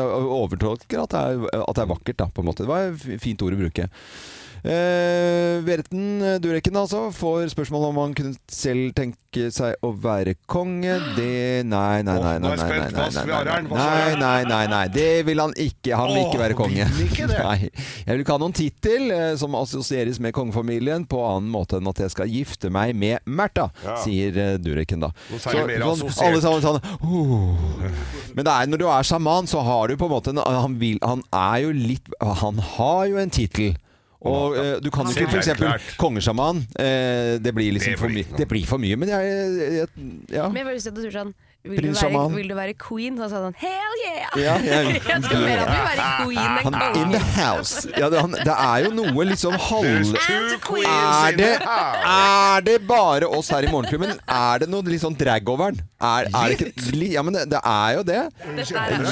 [SPEAKER 3] overtolker at det er, at det er vakkert, da, på en måte. Det var et f- fint ord å bruke. Eh, Verten Dureken altså får spørsmål om han kunne selv tenke seg å være konge. Det Nei, nei, nei.
[SPEAKER 5] nå
[SPEAKER 3] Nei,
[SPEAKER 5] er jeg
[SPEAKER 3] nei, nei,
[SPEAKER 5] spent.
[SPEAKER 3] nei,
[SPEAKER 5] Hva
[SPEAKER 3] nei,
[SPEAKER 5] svarer
[SPEAKER 3] nei,
[SPEAKER 5] han? Hva
[SPEAKER 3] nei,
[SPEAKER 5] svarer
[SPEAKER 3] nei, nei, nei. Det vil han ikke. Han vil
[SPEAKER 5] Åh,
[SPEAKER 3] ikke være konge.
[SPEAKER 5] vil ikke det?
[SPEAKER 3] Nei. Jeg vil ikke ha noen tittel eh, som assosieres med kongefamilien på annen måte enn at jeg skal gifte meg med Märtha,
[SPEAKER 5] Ja.
[SPEAKER 3] sier eh, Dureken da.
[SPEAKER 5] Nå sier jeg mer
[SPEAKER 3] sånn-
[SPEAKER 5] assosiert.
[SPEAKER 3] alle sammen sånn «Åh». Men det er, når du er sjaman, så har du på en måte en, han, vil, han er jo litt Han har jo en tittel. Og eh, du kan jo ikke f.eks. kongesjaman. Eh, det blir liksom for mye. Det blir for mye, men jeg, jeg ja.
[SPEAKER 4] Men jeg bare husker at du sa sånn vil du,
[SPEAKER 3] Prins
[SPEAKER 4] være,
[SPEAKER 3] Shaman.
[SPEAKER 4] vil du være queen? Så sa han hell yeah!
[SPEAKER 3] Ja, jeg-
[SPEAKER 4] jeg skal mer at du vil være queen enn
[SPEAKER 3] Han er in
[SPEAKER 4] konge.
[SPEAKER 3] the house. Ja, det, han, det er jo noe liksom halv...
[SPEAKER 5] queens
[SPEAKER 3] Er
[SPEAKER 5] in
[SPEAKER 3] det,
[SPEAKER 5] the
[SPEAKER 3] er det bare oss her i Morgenklubben? Er det noe litt sånn drag-overen? Er, er det ikke li- Ja, men det, det er jo det.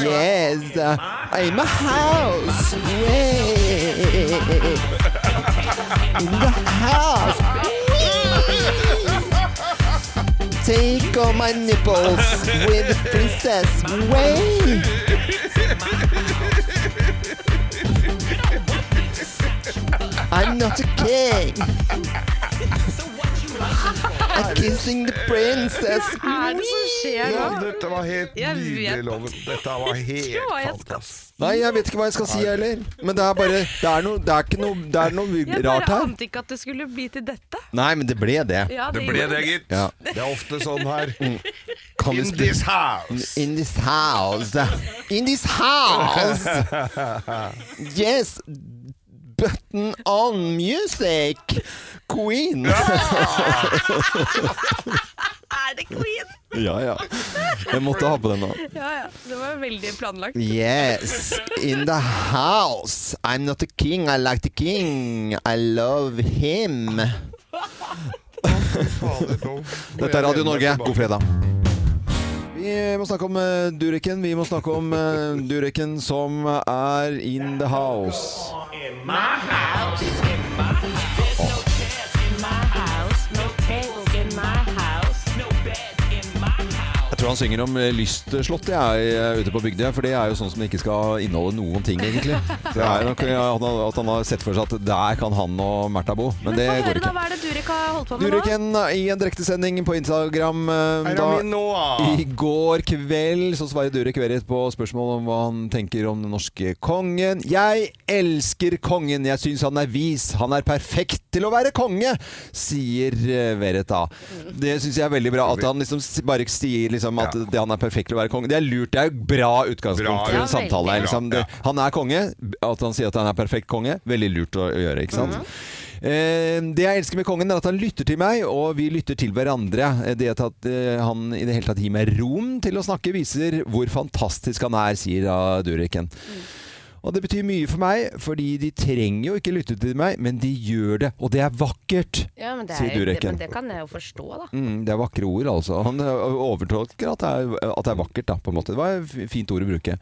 [SPEAKER 3] Yes. I'm a house. Yeah. In the house. Take all my nipples with princess way. I'm not a king. I'm kissing the princess.
[SPEAKER 4] Hva er det som skjer
[SPEAKER 5] Ja,
[SPEAKER 4] nå?
[SPEAKER 5] dette var helt
[SPEAKER 4] Jeg vet
[SPEAKER 5] nydelig, Loven. Dette var
[SPEAKER 4] ikke hva jeg
[SPEAKER 5] helt
[SPEAKER 4] skal
[SPEAKER 5] fantastisk.
[SPEAKER 3] Nei, jeg vet ikke hva jeg skal si heller. Men det er bare Det er noe, det er ikke noe, det er noe
[SPEAKER 4] Jeg
[SPEAKER 3] rart
[SPEAKER 4] bare
[SPEAKER 3] her.
[SPEAKER 4] ante ikke at det skulle bli til dette.
[SPEAKER 3] Nei, men det ble det.
[SPEAKER 4] Ja, det Det ble gjorde det, det. gitt.
[SPEAKER 3] Ja.
[SPEAKER 5] Det er ofte sånn her.
[SPEAKER 3] Mm. Kan vi Mm.
[SPEAKER 5] In
[SPEAKER 3] sp-
[SPEAKER 5] this house.
[SPEAKER 3] In this house. In this house. Yes. Button on music. Queen.
[SPEAKER 4] Er det queen?
[SPEAKER 3] ja, ja. Jeg måtte ha på den nå.
[SPEAKER 4] Ja, ja. Det var veldig planlagt.
[SPEAKER 3] Yes, in the house. I'm not a king, I like the king. I love him. Dette er Radio Norge. God fredag. Vi må snakke om eh, Dureken. Vi må snakke om eh, Dureken som er in the house. Jeg tror han synger om eh, lystslottet jeg eh, ute på bygda, for det er jo sånn som det ikke skal inneholde noen ting, egentlig. Det er nok eh, at han- at han har sett for seg at der kan han og Märtha bo, men, det
[SPEAKER 4] Få
[SPEAKER 3] går
[SPEAKER 4] høre,
[SPEAKER 3] ikke.
[SPEAKER 4] da. Hva er det Durek har holdt på med nå?
[SPEAKER 3] Dureken i en direktesending på Instagram eh,
[SPEAKER 4] det min
[SPEAKER 3] I går kveld så svarer Durek Verit på spørsmål om hva han tenker om den norske kongen. Jeg elsker kongen! Jeg syns han er vis! Han er perfekt til å være konge! Sier eh, Verit da. Det syns jeg er veldig bra. At han liksom s- bare sier liksom at det, han er perfekt til å være konge. Det er lurt. Det er jo bra
[SPEAKER 5] Bra,
[SPEAKER 3] utgangspunkt for
[SPEAKER 5] ja.
[SPEAKER 3] en samtale. her,
[SPEAKER 5] Bra,
[SPEAKER 3] Liksom. Det, han er konge. At han sier at han er perfekt konge, veldig lurt å å gjøre. ikke
[SPEAKER 5] Mhm.
[SPEAKER 3] sant? Eh, Det jeg elsker med kongen, er at han lytter til meg, og vi lytter til hverandre. Eh, Det at eh, han i det hele tatt gir meg rom til å snakke, viser hvor fantastisk han er, sier da Dureken.
[SPEAKER 5] Mm.
[SPEAKER 3] Og det betyr mye for meg, fordi de trenger jo ikke lytte til meg, men de gjør det. Og det er vakkert,
[SPEAKER 4] Ja, men det, er,
[SPEAKER 3] sier
[SPEAKER 4] jo- det,
[SPEAKER 3] Dureken.
[SPEAKER 4] men det kan jeg jo forstå, da.
[SPEAKER 3] Mm, det er vakre ord, altså. Han ø, overtolker at det er, øh, at det er vakkert, da, på en måte. Det var et f- fint ord å bruke.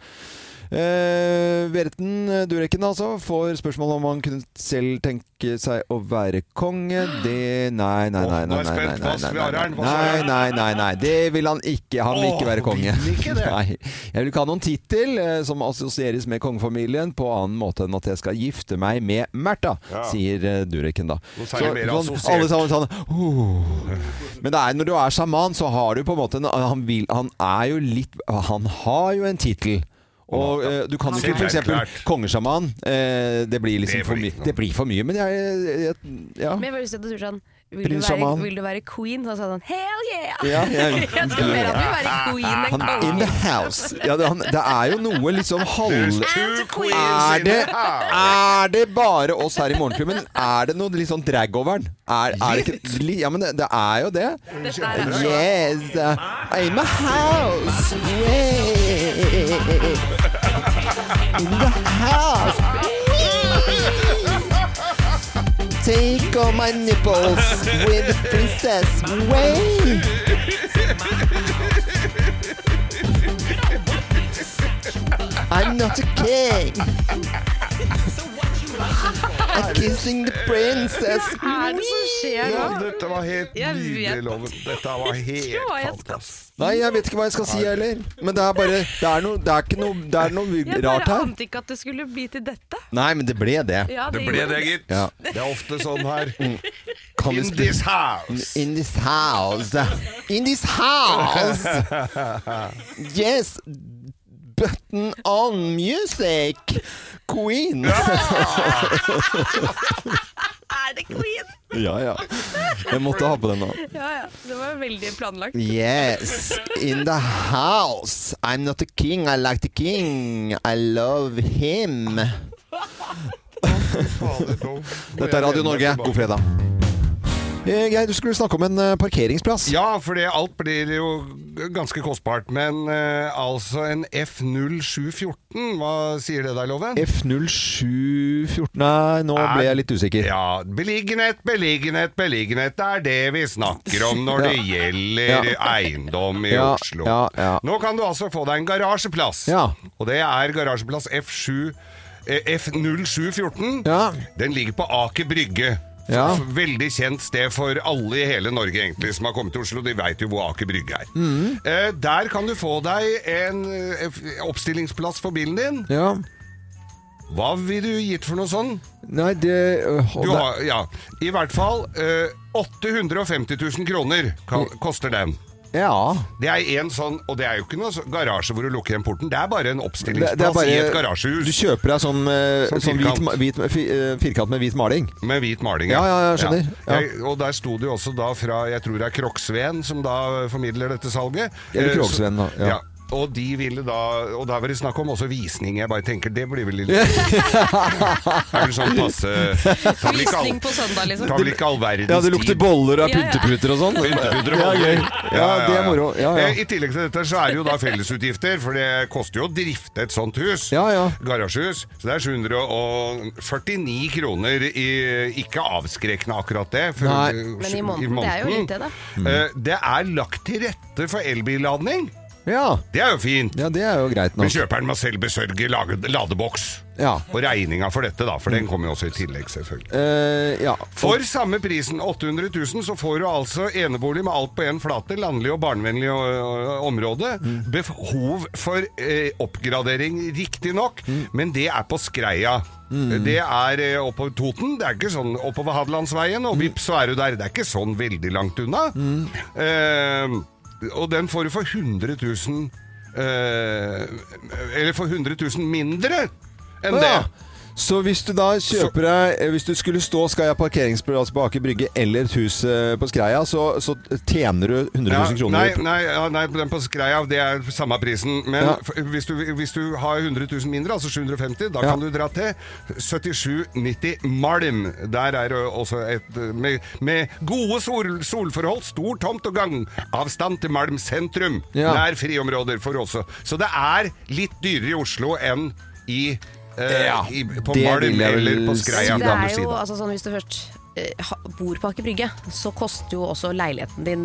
[SPEAKER 3] Eh, Vereten Dureken altså får spørsmål om han kunne selv tenke seg å være konge. Det Nei, nei, nei. nei, nei,
[SPEAKER 5] Åh, nå er jeg
[SPEAKER 3] nei,
[SPEAKER 5] spent.
[SPEAKER 3] nei,
[SPEAKER 5] Hva
[SPEAKER 3] nei,
[SPEAKER 5] svarer
[SPEAKER 3] nei,
[SPEAKER 5] han? Hva
[SPEAKER 3] nei,
[SPEAKER 5] svarer han?
[SPEAKER 3] nei, nei, nei. Det vil han ikke. Han vil ikke
[SPEAKER 5] Åh,
[SPEAKER 3] være konge.
[SPEAKER 5] vil ikke det?
[SPEAKER 3] Nei. Jeg vil ikke ha noen tittel eh, som assosieres med kongefamilien på annen måte enn at jeg skal gifte meg med Märtha, sier eh, Dureken da.
[SPEAKER 5] Noe særlig mer
[SPEAKER 3] sånn,
[SPEAKER 5] assosiert.
[SPEAKER 3] alle sammen sånn «Åh». Men det er, når du er sjaman, så har du på en måte en, han, vil, han er jo litt Han har jo en tittel. Og eh, du kan jo ikke f.eks. kongesjaman. Eh, det blir liksom
[SPEAKER 5] Det
[SPEAKER 3] for
[SPEAKER 5] blir
[SPEAKER 3] mye. Det blir for mye, men jeg, jeg Ja.
[SPEAKER 4] Men jeg bare lyst til at du sier sånn vil du,
[SPEAKER 3] Prins
[SPEAKER 4] være,
[SPEAKER 3] Shaman.
[SPEAKER 4] vil du være queen? Så sa han hell yeah!
[SPEAKER 3] Ja, jeg-
[SPEAKER 4] jeg skal mer at du vil være queen enn
[SPEAKER 3] Han er in
[SPEAKER 4] konge.
[SPEAKER 3] the house. Ja, det, han, det er jo noe liksom halv...
[SPEAKER 5] There's two queens
[SPEAKER 3] Er
[SPEAKER 5] in
[SPEAKER 3] det,
[SPEAKER 5] the
[SPEAKER 3] er det bare oss her i Morgenklubben? Er det noe litt sånn drag-overen? Er, er det ikke li- Ja, men det, det er jo det. Yes. I'm a house. Yeah. In the house. Take all my nipples with princess way. I'm not a king. I'm kissing the princess.
[SPEAKER 4] Hva er det som skjer
[SPEAKER 5] Ja,
[SPEAKER 4] nå?
[SPEAKER 5] dette var helt
[SPEAKER 4] Jeg
[SPEAKER 5] nydelig,
[SPEAKER 4] vet.
[SPEAKER 5] Loven. Dette var
[SPEAKER 4] Ikke hva jeg
[SPEAKER 5] helt
[SPEAKER 4] skal
[SPEAKER 3] Nei, jeg vet ikke hva jeg skal si heller. Men det er bare Det er noe, det er ikke noe, det er noe
[SPEAKER 4] Jeg
[SPEAKER 3] rart
[SPEAKER 4] bare
[SPEAKER 3] her.
[SPEAKER 4] ante ikke at det skulle bli til dette.
[SPEAKER 3] Nei, men det ble det.
[SPEAKER 4] Ja, det Det ble gjorde det, det. gitt.
[SPEAKER 3] Ja.
[SPEAKER 5] Det er ofte sånn her.
[SPEAKER 3] Mm. Kan vi Mm.
[SPEAKER 5] In
[SPEAKER 3] sp-
[SPEAKER 5] this house.
[SPEAKER 3] In this house. In this house. Yes. Button on music. Queen.
[SPEAKER 4] Er det queen?
[SPEAKER 3] ja, ja. Jeg måtte ha på den nå.
[SPEAKER 4] Ja, ja. Det var veldig planlagt.
[SPEAKER 3] Yes, in the house. I'm not a king, I like the king. I love him. Dette er Radio Norge. God fredag. Eh, Geir, du skulle snakke om en eh, parkeringsplass.
[SPEAKER 5] Ja, for det alt blir jo ganske kostbart. Men eh, altså en F0714, hva sier det der, Loven?
[SPEAKER 3] F0714 Nei, nå ble jeg litt usikker.
[SPEAKER 5] Ja, beliggenhet, beliggenhet, beliggenhet. Det er det vi snakker om når det gjelder
[SPEAKER 3] Ja.
[SPEAKER 5] eiendom i
[SPEAKER 3] Ja,
[SPEAKER 5] Oslo.
[SPEAKER 3] ja, ja.
[SPEAKER 5] Nå kan du altså få deg en garasjeplass. Og det er garasjeplass F7, eh, F0714. Den ligger på Aker Brygge.
[SPEAKER 3] Ja.
[SPEAKER 5] Veldig kjent sted for alle i hele Norge egentlig som har kommet til Oslo. De veit jo hvor Aker Brygge er.
[SPEAKER 3] Mhm.
[SPEAKER 5] Eh, der kan du få deg en eh, f- oppstillingsplass for bilen din.
[SPEAKER 3] Ja.
[SPEAKER 5] Hva ville du gitt for noe sånn?
[SPEAKER 3] Nei, det øh,
[SPEAKER 5] Du har, ja, I hvert fall eh, 850 000 kroner ka-
[SPEAKER 3] Mm.
[SPEAKER 5] koster den.
[SPEAKER 3] Ja.
[SPEAKER 5] Det er en sånn, og det er jo ikke noe så- garasje hvor du lukker igjen porten. Det er bare
[SPEAKER 3] Det,
[SPEAKER 5] en
[SPEAKER 3] det er
[SPEAKER 5] oppstillingsplass i et
[SPEAKER 3] bare
[SPEAKER 5] garasjehus
[SPEAKER 3] Du kjøper deg sånn, eh,
[SPEAKER 5] Sånn
[SPEAKER 3] sånn hvit,
[SPEAKER 5] firkant.
[SPEAKER 3] ma- hvit, fi- eh, firkant med hvit maling.
[SPEAKER 5] med hvit maling.
[SPEAKER 3] Ja, ja, jeg skjønner. Ja.
[SPEAKER 5] Jeg, og der sto det jo også da fra, jeg tror det er Kroksveen som da formidler dette salget.
[SPEAKER 3] Eller
[SPEAKER 5] Eh, så-
[SPEAKER 3] Kroksveen, da, ja.
[SPEAKER 5] Ja. Og, de ville da, og da var det snakk om også visning. Jeg bare tenker, det blir vel litt Det er vel sånn passe tar vel ikke all-
[SPEAKER 4] Visning på søndag, liksom.
[SPEAKER 5] Tar vel ikke all verdens
[SPEAKER 3] Ja, det lukter boller av
[SPEAKER 4] Ja, ja.
[SPEAKER 3] pynteputer og sånn.
[SPEAKER 5] Pynteputer og
[SPEAKER 3] Ja,
[SPEAKER 5] boller.
[SPEAKER 3] gøy. Ja, det er moro. Ja, ja.
[SPEAKER 5] Eh, I tillegg til dette så er det jo da fellesutgifter, for det koster jo å drifte et sånt hus. Garasjehus. Så det er 749 kroner i Ikke avskrekkende akkurat det. for-
[SPEAKER 11] Nei. Men i måneden, det er jo litt det, da.
[SPEAKER 5] Eh, Det er lagt til rette for elbilladning. Det er jo fint.
[SPEAKER 3] Ja, det er jo greit nok.
[SPEAKER 5] Men kjøperen må selv besørge lage- ladeboks.
[SPEAKER 3] Ja.
[SPEAKER 5] Og regninga for dette, da. For
[SPEAKER 3] Mm.
[SPEAKER 5] den kommer jo også i tillegg, selvfølgelig.
[SPEAKER 3] Eh, ja.
[SPEAKER 5] For samme prisen, 800 000, så får du altså enebolig med alt på én flate, landlig og barnevennlig ø, ø, område. Behov for eh, oppgradering, riktignok, men det er på Skreia.
[SPEAKER 3] Mm.
[SPEAKER 5] Det er eh, oppå Toten, det er ikke sånn oppover Hadelandsveien,
[SPEAKER 3] Mm.
[SPEAKER 5] og vips, så er du der. Det er ikke sånn veldig langt unna. Eh, og den får du for 100 000 eh, Eller for 100 000 mindre enn
[SPEAKER 3] Å
[SPEAKER 5] det.
[SPEAKER 3] ja. Så hvis du da kjøper deg eh, Hvis du skulle stå Skal jeg ha parkeringsplass altså på Aker Brygge eller et hus eh, på Skreia, så, så tjener du 100 000 kroner.
[SPEAKER 5] Nei, nei, ja, nei den på Skreia, det er samme prisen. Men
[SPEAKER 3] Ja.
[SPEAKER 5] f- hvis, du, hvis du har 100 000 mindre, altså 750, da
[SPEAKER 3] Ja.
[SPEAKER 5] kan du dra til 7790 Malm. Der er det også et eh, med, med gode sol, solforhold, stor tomt og gangavstand til Malm sentrum.
[SPEAKER 3] Ja.
[SPEAKER 5] Nær friområder for også. Så det er litt dyrere i Oslo enn i eh,
[SPEAKER 3] Ja,
[SPEAKER 5] i, på
[SPEAKER 3] det
[SPEAKER 5] Malm
[SPEAKER 3] vil jeg vel
[SPEAKER 5] eller på
[SPEAKER 3] si.
[SPEAKER 5] Skreia.
[SPEAKER 4] det
[SPEAKER 5] kan du
[SPEAKER 4] er
[SPEAKER 5] si
[SPEAKER 4] jo
[SPEAKER 5] da.
[SPEAKER 4] altså, sånn Hvis du først eh, ha- bor på Aker Brygge, så koster jo også leiligheten din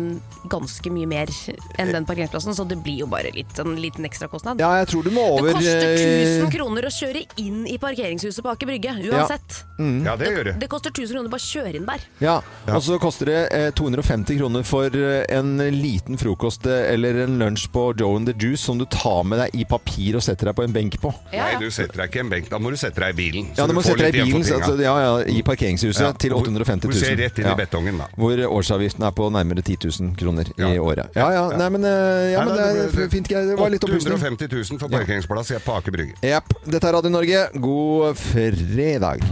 [SPEAKER 4] ganske mye mer enn den parkeringsplassen, så det blir jo bare litt, en liten ekstrakostnad.
[SPEAKER 3] Ja, jeg tror du må over
[SPEAKER 4] det koster
[SPEAKER 3] eh,
[SPEAKER 4] 1000 kroner å kjøre inn i parkeringshuset på Aker Brygge, uansett.
[SPEAKER 3] Ja. Mm. Ja, det gjør det.
[SPEAKER 4] det. koster 1000 kroner bare å kjøre inn der.
[SPEAKER 3] Ja, og så koster det eh, 250 kroner for eh, en liten frokost eh, eller en lunsj på Joe and the Juice som du tar med deg i papir og setter deg på en benk på.
[SPEAKER 5] Nei, du setter deg ikke i en benk. Da må du sette deg i bilen.
[SPEAKER 3] Ja, du må
[SPEAKER 5] får
[SPEAKER 3] sette deg i
[SPEAKER 5] litt igjen for
[SPEAKER 3] bilen så,
[SPEAKER 5] penga.
[SPEAKER 3] så- ja, ja, i parkeringshuset
[SPEAKER 5] Ja,
[SPEAKER 3] til
[SPEAKER 5] hvor-
[SPEAKER 3] 850 000.
[SPEAKER 5] hvor ser rett inn i
[SPEAKER 3] ja.
[SPEAKER 5] betongen, da.
[SPEAKER 3] Hvor eh, årsavgiften er på nærmere 10 000 kroner i året. Ja, ja, nei, men, eh, ja,
[SPEAKER 5] Nei,
[SPEAKER 3] men
[SPEAKER 5] nei,
[SPEAKER 3] det er
[SPEAKER 5] ble-
[SPEAKER 3] fint. Geir. Det var litt opplysning.
[SPEAKER 5] 850 000 for parkeringsplass på Aker Brygge.
[SPEAKER 3] Jepp. Dette er Radio Norge. God fredag.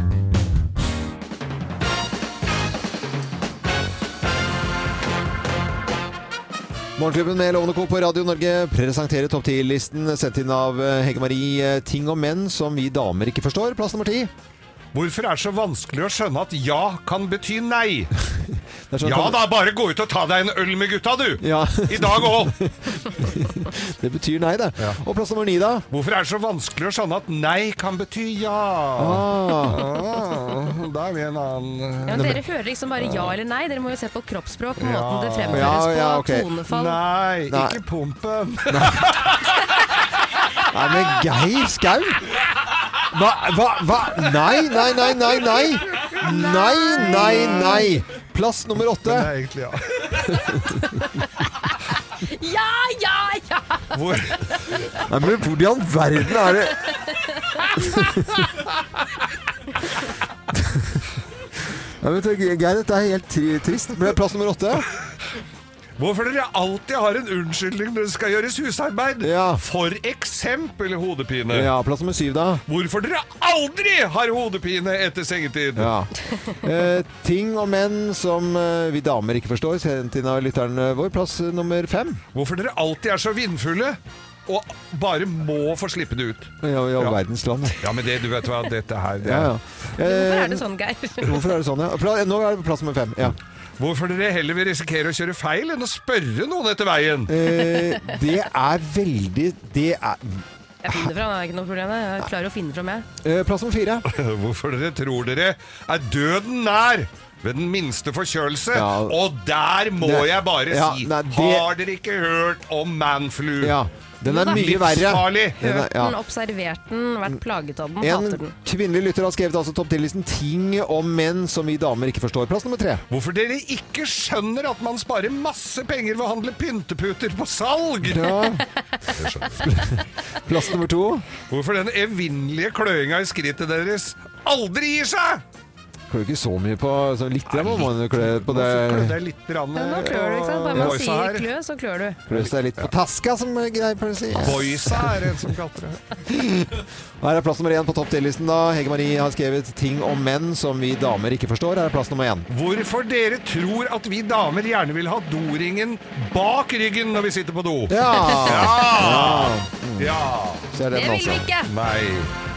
[SPEAKER 3] Morgenklubben med Lovende Co. på Radio Norge presenterer topp 10-listen sendt inn av eh, Hege Marie. eh, Ting og menn som vi damer ikke forstår. Plass nummer ti.
[SPEAKER 5] Hvorfor er det så vanskelig å skjønne at ja kan bety nei?
[SPEAKER 3] er sånn-
[SPEAKER 5] ja da, bare gå ut og ta deg en øl med gutta, du! I dag òg!
[SPEAKER 3] Det betyr nei, det. Og plass nummer ni, da?
[SPEAKER 5] Hvorfor er det så vanskelig å skjønne at nei kan bety ja?
[SPEAKER 3] Ah.
[SPEAKER 5] Ah, da er vi en annen
[SPEAKER 4] Ja, men dere hører liksom bare ja eller nei. Dere må jo se på kroppsspråk, måten det fremføres
[SPEAKER 3] Ja, ja,
[SPEAKER 4] på,
[SPEAKER 3] ok.
[SPEAKER 4] tonefall.
[SPEAKER 5] Nei,
[SPEAKER 3] Nei.
[SPEAKER 5] ikke pumpen.
[SPEAKER 3] Nei, men Geir Skau! Hva, hva, hva? Nei, nei, nei, nei, nei! Nei, nei, nei! Plass nummer åtte.
[SPEAKER 5] Men det er egentlig ja.
[SPEAKER 11] Ja, ja, ja!
[SPEAKER 5] Hvor?
[SPEAKER 3] Nei, men hvor i all verden er det Nei, men tenk, Geir, dette er helt tri trist. Men Plass nummer åtte.
[SPEAKER 5] Hvorfor dere alltid har en unnskyldning når det skal gjøres husarbeid? For eksempel hodepine.
[SPEAKER 3] Ja, plass nummer syv, da.
[SPEAKER 5] Hvorfor dere aldri har hodepine etter sengetid?
[SPEAKER 3] Ja. Eh, ting og menn som eh, vi damer ikke forstår, sendt inn av lytteren vår. Plass eh, nummer fem.
[SPEAKER 5] Hvorfor dere alltid er så vindfulle og bare må få slippe det ut?
[SPEAKER 3] I all all verdens land.
[SPEAKER 5] Ja, men det, du vet hva, dette her det
[SPEAKER 3] Ja,
[SPEAKER 5] er-
[SPEAKER 3] ja.
[SPEAKER 4] Hvorfor er
[SPEAKER 3] Eh,
[SPEAKER 4] det sånn, Geir?
[SPEAKER 3] Hvorfor er det sånn, ja? Pla- Nå er det plass nummer fem. Ja.
[SPEAKER 5] Hvorfor dere heller vil risikere å kjøre feil enn å spørre noen etter veien?
[SPEAKER 3] Eh, det er veldig Det er
[SPEAKER 4] Jeg finner fram, det er ikke noe problem. Jeg klarer å finne fram, jeg.
[SPEAKER 3] eh, Plass nummer fire.
[SPEAKER 5] Hvorfor dere tror dere er døden nær ved den minste forkjølelse?
[SPEAKER 3] Ja.
[SPEAKER 5] Og der må
[SPEAKER 3] Det-
[SPEAKER 5] jeg bare
[SPEAKER 3] Ja,
[SPEAKER 5] si
[SPEAKER 3] nei, det-
[SPEAKER 5] Har dere ikke hørt om manflu?
[SPEAKER 3] Ja, den er
[SPEAKER 4] Jo da.
[SPEAKER 3] mye verre.
[SPEAKER 5] Livsfarlig.
[SPEAKER 3] Den er- ja.
[SPEAKER 4] Den observert den, vært plaget av den, hater
[SPEAKER 3] En
[SPEAKER 4] den.
[SPEAKER 3] kvinnelig lytter har skrevet altså topp 10-listen ting om menn som vi damer ikke forstår. Plass nummer tre.
[SPEAKER 5] Hvorfor dere ikke skjønner at man sparer masse penger ved å handle pynteputer på salg?
[SPEAKER 3] Ja. Plass nummer to.
[SPEAKER 5] Hvorfor den evinnelige kløinga i skrittet deres aldri gir seg?
[SPEAKER 3] Klør ikke så mye på så Litt grann må man jo klø på det.
[SPEAKER 5] Klødde jeg litt eh, rann,
[SPEAKER 4] Ja, nå klør du, ikke sant? Bare man sier klø, så klør du.
[SPEAKER 3] Klø seg litt på taska, som jeg pleier å si.
[SPEAKER 5] Boysa er det en som kalte det.
[SPEAKER 3] Her er plass nummer én på topp 10-listen. da. Hege Marie har skrevet 'Ting om menn som vi damer ikke forstår'. Her er plass nummer én.
[SPEAKER 5] Hvorfor dere tror at vi damer gjerne vil ha doringen bak ryggen når vi sitter på do?
[SPEAKER 3] Ja!
[SPEAKER 5] Ja! ja.
[SPEAKER 3] Så er det Det den vil vi også. ikke.
[SPEAKER 5] Nei,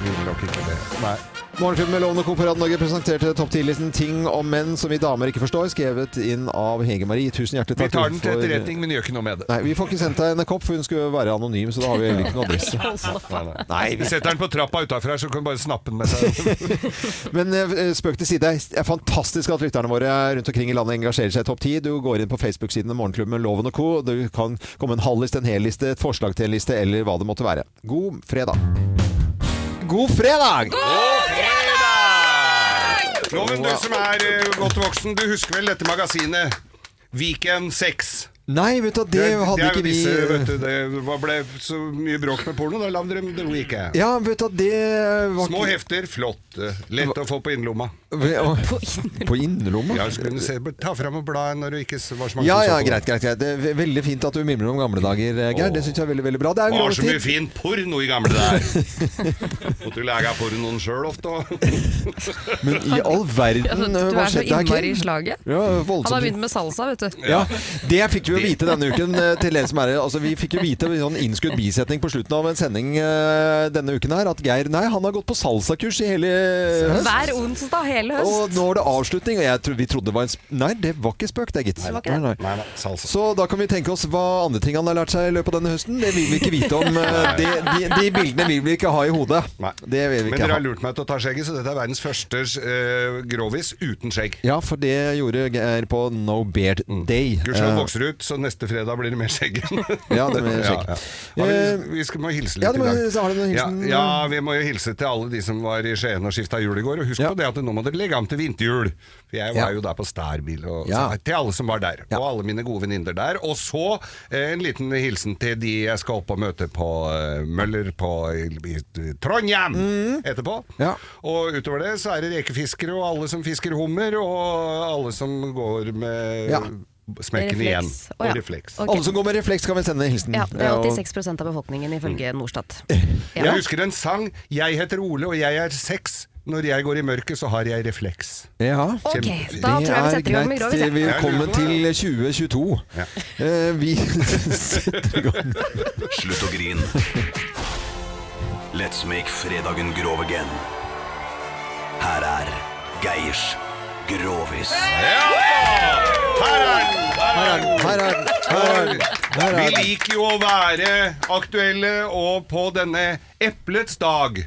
[SPEAKER 5] vi vil nok ikke det. Nei.
[SPEAKER 3] Morgenklubben med Lovende Koperat Norge presenterte topp 10-listen 'Ting om menn som vi damer ikke forstår', skrevet inn av Hege Marie. Tusen hjertelig
[SPEAKER 5] Vi
[SPEAKER 3] takk.
[SPEAKER 5] tar den til
[SPEAKER 3] for-
[SPEAKER 5] etterretning, men gjør ikke noe med det.
[SPEAKER 3] Nei, vi får ikke sendt deg en kopp, for hun skulle være anonym, så da har vi heller ikke noe adresse.
[SPEAKER 5] Nei, nei.
[SPEAKER 3] Nei, vi-
[SPEAKER 5] vi setter den på trappa utafor her, så kan du bare snappe den med seg.
[SPEAKER 3] Men eh, spøk til side. Det er fantastisk at lytterne våre rundt omkring i landet engasjerer seg i Topp 10. Du går inn på Facebook-sidene Morgenklubben med Loven og co. Du kan komme en halv liste, en hel liste, et forslag til en liste, eller hva det måtte være. God fredag. God fredag!
[SPEAKER 5] Loven, du som er eh, godt voksen, du husker vel dette magasinet? Weekend 6.
[SPEAKER 3] Nei, vet du, det hadde
[SPEAKER 5] er jo
[SPEAKER 3] ikke vi
[SPEAKER 5] disse, vet du, Det var- ble så mye bråk med porno, da lagde de The Weekend.
[SPEAKER 3] Ja, vet du, det var
[SPEAKER 5] Små
[SPEAKER 3] ikke-
[SPEAKER 5] hefter, flott. eh, Lett å få på innerlomma.
[SPEAKER 3] På innerlomma?
[SPEAKER 5] Ja, så kunne du se, ta fram og bla når du ikke s- var så mange
[SPEAKER 3] Ja,
[SPEAKER 5] som så
[SPEAKER 3] ja,
[SPEAKER 5] på.
[SPEAKER 3] greit, greit. greit. Det er ve- veldig fint at du mimrer om gamle dager, eh, Geir. Det syns jeg er veldig, veldig bra. Det er jo
[SPEAKER 5] var så
[SPEAKER 3] juletid.
[SPEAKER 5] mye fin porno i gamle dager. Måtte du lage pornoen sjøl ofte òg.
[SPEAKER 3] Men i all verden,
[SPEAKER 4] Altså,
[SPEAKER 3] eh,
[SPEAKER 4] du
[SPEAKER 3] hva
[SPEAKER 4] er så
[SPEAKER 3] skjedde her,
[SPEAKER 4] innmari
[SPEAKER 3] Kim?
[SPEAKER 4] i slaget.
[SPEAKER 3] Ja,
[SPEAKER 4] Han har
[SPEAKER 3] voldsomt.
[SPEAKER 4] begynt med salsa, vet du.
[SPEAKER 3] Ja, Det fikk vi jo vite denne uken. eh, til dere som er, her. altså Vi fikk jo vite en sånn innskudd bisetning på slutten av en sending eh, denne uken her, at Geir nei, han har gått på salsakurs i hele høst.
[SPEAKER 4] Hver onsdag hele høst.
[SPEAKER 3] Og nå var det avslutning, og jeg tro, vi trodde det var en sp Nei, det var ikke spøk, det, gitt.
[SPEAKER 4] Nei, det var ikke det.
[SPEAKER 3] Så da kan vi tenke oss hva andre ting han har lært seg i løpet av denne høsten. Det vil vi ikke vite om. eh, De, de, de bildene vil vi ikke ha i hodet. Det vil vi
[SPEAKER 5] Men
[SPEAKER 3] ikke
[SPEAKER 5] dere
[SPEAKER 3] ha.
[SPEAKER 5] har lurt meg til å ta skjegget, så dette er verdens første eh, grovis uten skjegg.
[SPEAKER 3] Ja, for det gjorde Geir på No Beard Day.
[SPEAKER 5] Mm. Gudskjelov
[SPEAKER 3] Eh,
[SPEAKER 5] vokser ut, så neste fredag blir det mer skjegg.
[SPEAKER 3] Ja, det blir skjegg. Eh,
[SPEAKER 5] Ja, ja. Har Vi, vi skal, må hilse litt
[SPEAKER 3] Ja, du må-
[SPEAKER 5] i dag.
[SPEAKER 3] så har du noen
[SPEAKER 5] ja,
[SPEAKER 3] hilsen?
[SPEAKER 5] ja, vi må jo hilse til alle de som var i Skien og skifta hjul i går. Og husk på det at nå må dere legge an til vinterhjul. For jeg var
[SPEAKER 3] Ja.
[SPEAKER 5] jo der på Stærbil. Og,
[SPEAKER 3] Ja.
[SPEAKER 5] så- til alle som var der. Og alle mine gode venninner der. Og så eh, en liten hilsen til de jeg skal opp og møte på eh, Møller på, i, i Trondheim
[SPEAKER 3] Mm.
[SPEAKER 5] etterpå. Og utover det så er det rekefiskere og alle som fisker hummer, og alle som går med
[SPEAKER 3] Ja.
[SPEAKER 5] smekken igjen.
[SPEAKER 4] Refleks. Å, ja.
[SPEAKER 5] Og refleks.
[SPEAKER 4] Ok.
[SPEAKER 3] Eh, Alle som går med refleks, kan vi sende hilsen.
[SPEAKER 4] Ja, det
[SPEAKER 3] Eh,
[SPEAKER 4] er
[SPEAKER 3] og-
[SPEAKER 4] 86 av befolkningen ifølge Norstat. Ja.
[SPEAKER 5] Jeg husker en sang. Jeg heter Ole, og jeg er seks. Når jeg går i mørket, så har jeg refleks.
[SPEAKER 3] Ja.
[SPEAKER 5] Ok,
[SPEAKER 4] da tror jeg vi setter i gang med Grovis, ja.
[SPEAKER 3] Vi kommer til 2022. Eh, vi setter i gang.
[SPEAKER 18] Slutt å grine. Let's make fredagen grov again. Her er Geirs Grovis.
[SPEAKER 5] Vi liker jo å være aktuelle, og på denne eplets dag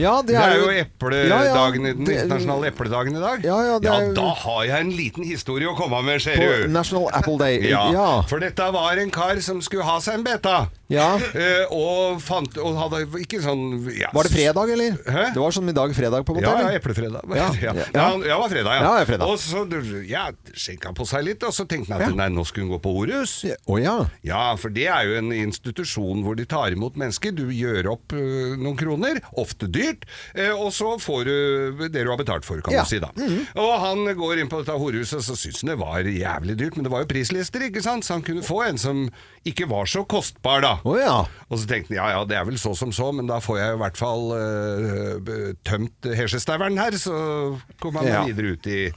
[SPEAKER 3] Ja, det er jo
[SPEAKER 5] epledagen,
[SPEAKER 3] Ja, ja,
[SPEAKER 5] den
[SPEAKER 3] det-
[SPEAKER 5] internasjonale epledagen i dag.
[SPEAKER 3] Ja, ja, det er jo-
[SPEAKER 5] da har jeg en liten historie å komme med, ser
[SPEAKER 3] På
[SPEAKER 5] du.
[SPEAKER 3] National Apple Day.
[SPEAKER 5] Ja,
[SPEAKER 3] Ja.
[SPEAKER 5] For dette var en kar som skulle ha seg en beta.
[SPEAKER 3] Ja.
[SPEAKER 5] Eh, og fant Og hadde ikke sånn ja,
[SPEAKER 3] Var det fredag, eller? Det var som i dag fredag, på en måte?
[SPEAKER 5] Ja, ja,
[SPEAKER 3] eller?
[SPEAKER 5] eplefredag.
[SPEAKER 3] Ja,
[SPEAKER 5] Ja, ja.
[SPEAKER 3] ja.
[SPEAKER 5] han- ja, det var fredag, ja.
[SPEAKER 3] Ja, det er fredag.
[SPEAKER 5] Og så ja, skjenka han på seg litt, og så tenkte han at nei, nå skulle hun gå på Orus. Ja.
[SPEAKER 3] ja.
[SPEAKER 5] for det er jo en institusjon hvor de tar imot mennesker. Du gjør opp øh, noen kroner, ofte dyrt, eh, og så får du det du har betalt for, kan
[SPEAKER 3] Ja. Mm.
[SPEAKER 5] du si da. Og han går inn på dette horehuset, så syns han det var jævlig dyrt, men det var jo prislister, ikke sant? Så han kunne få en som ikke var så kostbar, da. Og så tenkte han ja ja, det er vel så som så, men da får jeg i hvert fall eh, b- tømt hesjestaueren her, så kommer han
[SPEAKER 3] Ja.
[SPEAKER 5] videre ut i,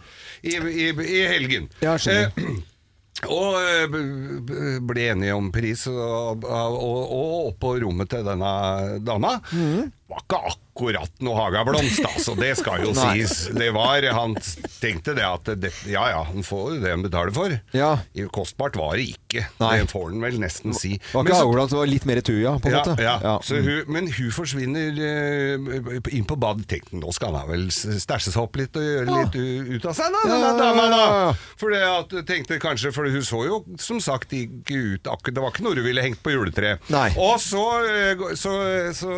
[SPEAKER 5] i, i, i helgen.
[SPEAKER 3] Ja, skjønner.
[SPEAKER 5] Eh, og eh, b- b- ble enige om pris, og, og, og opp på rommet til denne dama.
[SPEAKER 3] Mhm.
[SPEAKER 5] Var ikke akkurat noe Hagablomst, altså, det skal jo
[SPEAKER 3] Nei.
[SPEAKER 5] sies. Det var, Han tenkte det at det, ja ja, han får jo det han betaler for. Kostbart var det ikke,
[SPEAKER 3] Nei.
[SPEAKER 5] det får han vel nesten si.
[SPEAKER 3] Var
[SPEAKER 5] Men
[SPEAKER 3] ikke
[SPEAKER 5] så-
[SPEAKER 3] Aula, det var litt mer tur, ja? På en
[SPEAKER 5] ja,
[SPEAKER 3] måte.
[SPEAKER 5] Ja.
[SPEAKER 3] Ja. Mm.
[SPEAKER 5] Så hun, men hun forsvinner eh, inn på badet. Tenkte nå skal han vel stæsje seg opp litt og gjøre litt u- ut av seg, da,
[SPEAKER 3] Ja,
[SPEAKER 5] denne
[SPEAKER 3] ja,
[SPEAKER 5] dama, da.
[SPEAKER 3] ja, ja.
[SPEAKER 5] For det at jeg tenkte kanskje, for hun så jo som sagt ikke ut akkurat Det var ikke noe hun ville hengt på juletreet.
[SPEAKER 3] Nei.
[SPEAKER 5] Og så, eh, så, så,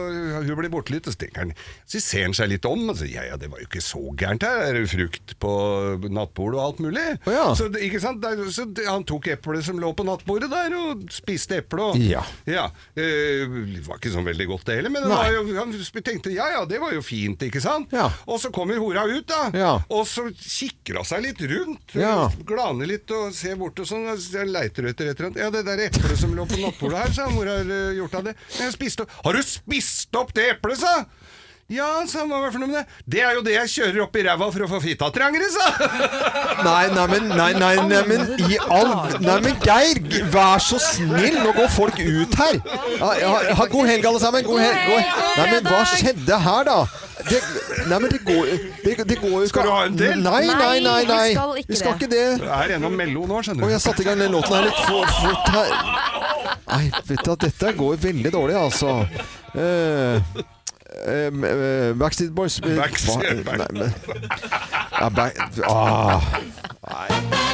[SPEAKER 5] hun blir borte litt, og så tenker han Så ser han seg litt om, og så ja, ja, det var jo ikke så gærent her, er det frukt på nattbordet og alt mulig? Så, det- ikke sant? Der, så det- han tok eplet som lå på nattbordet der, og spiste eplet. Og,
[SPEAKER 3] Ja.
[SPEAKER 5] eh, det var ikke sånn veldig godt det heller, men det
[SPEAKER 3] Nei.
[SPEAKER 5] var jo, han sp- tenkte ja, ja, det var jo fint, ikke sant? Og så kommer hora ut, da, og så kikker hun seg litt rundt, eh,
[SPEAKER 3] Ja.
[SPEAKER 5] glaner litt og ser bort og sånn, og så leiter etter et eller annet. Ja, det der eplet som lå på nattbordet her, sa han, hvor har eh, gjort av det? «Nei, Jeg spiste opp. Har du spist opp det eplet, sa han? Ja, sa han, hva var det for noe med det? Det er jo det jeg kjører opp i ræva for å få fitta trangere, sa han!
[SPEAKER 3] Nei, nei, men, nei, nei, nei, men i all Nei, men Geir, g- vær så snill, nå går folk ut her! Ja, ja, ha, god helg, alle sammen! God helg! God helg. Nei, men hva skjedde her, da? Det, nei, men det går, det, det går jo
[SPEAKER 5] Skal du ha en til?
[SPEAKER 3] Nei, nei, nei. nei.
[SPEAKER 5] Nei, vi skal ikke
[SPEAKER 3] Vi skal
[SPEAKER 5] det.
[SPEAKER 3] ikke det.
[SPEAKER 5] Det er en om Mello nå, skjønner du.
[SPEAKER 3] Og jeg satte i gang den låten her litt for fort her. Nei, vet du at dette går veldig dårlig, altså. Eh, eh, eh, Backstreet Boys eh,
[SPEAKER 5] Backstreet
[SPEAKER 3] hva- Nei, men- ja, back, ah. Nei.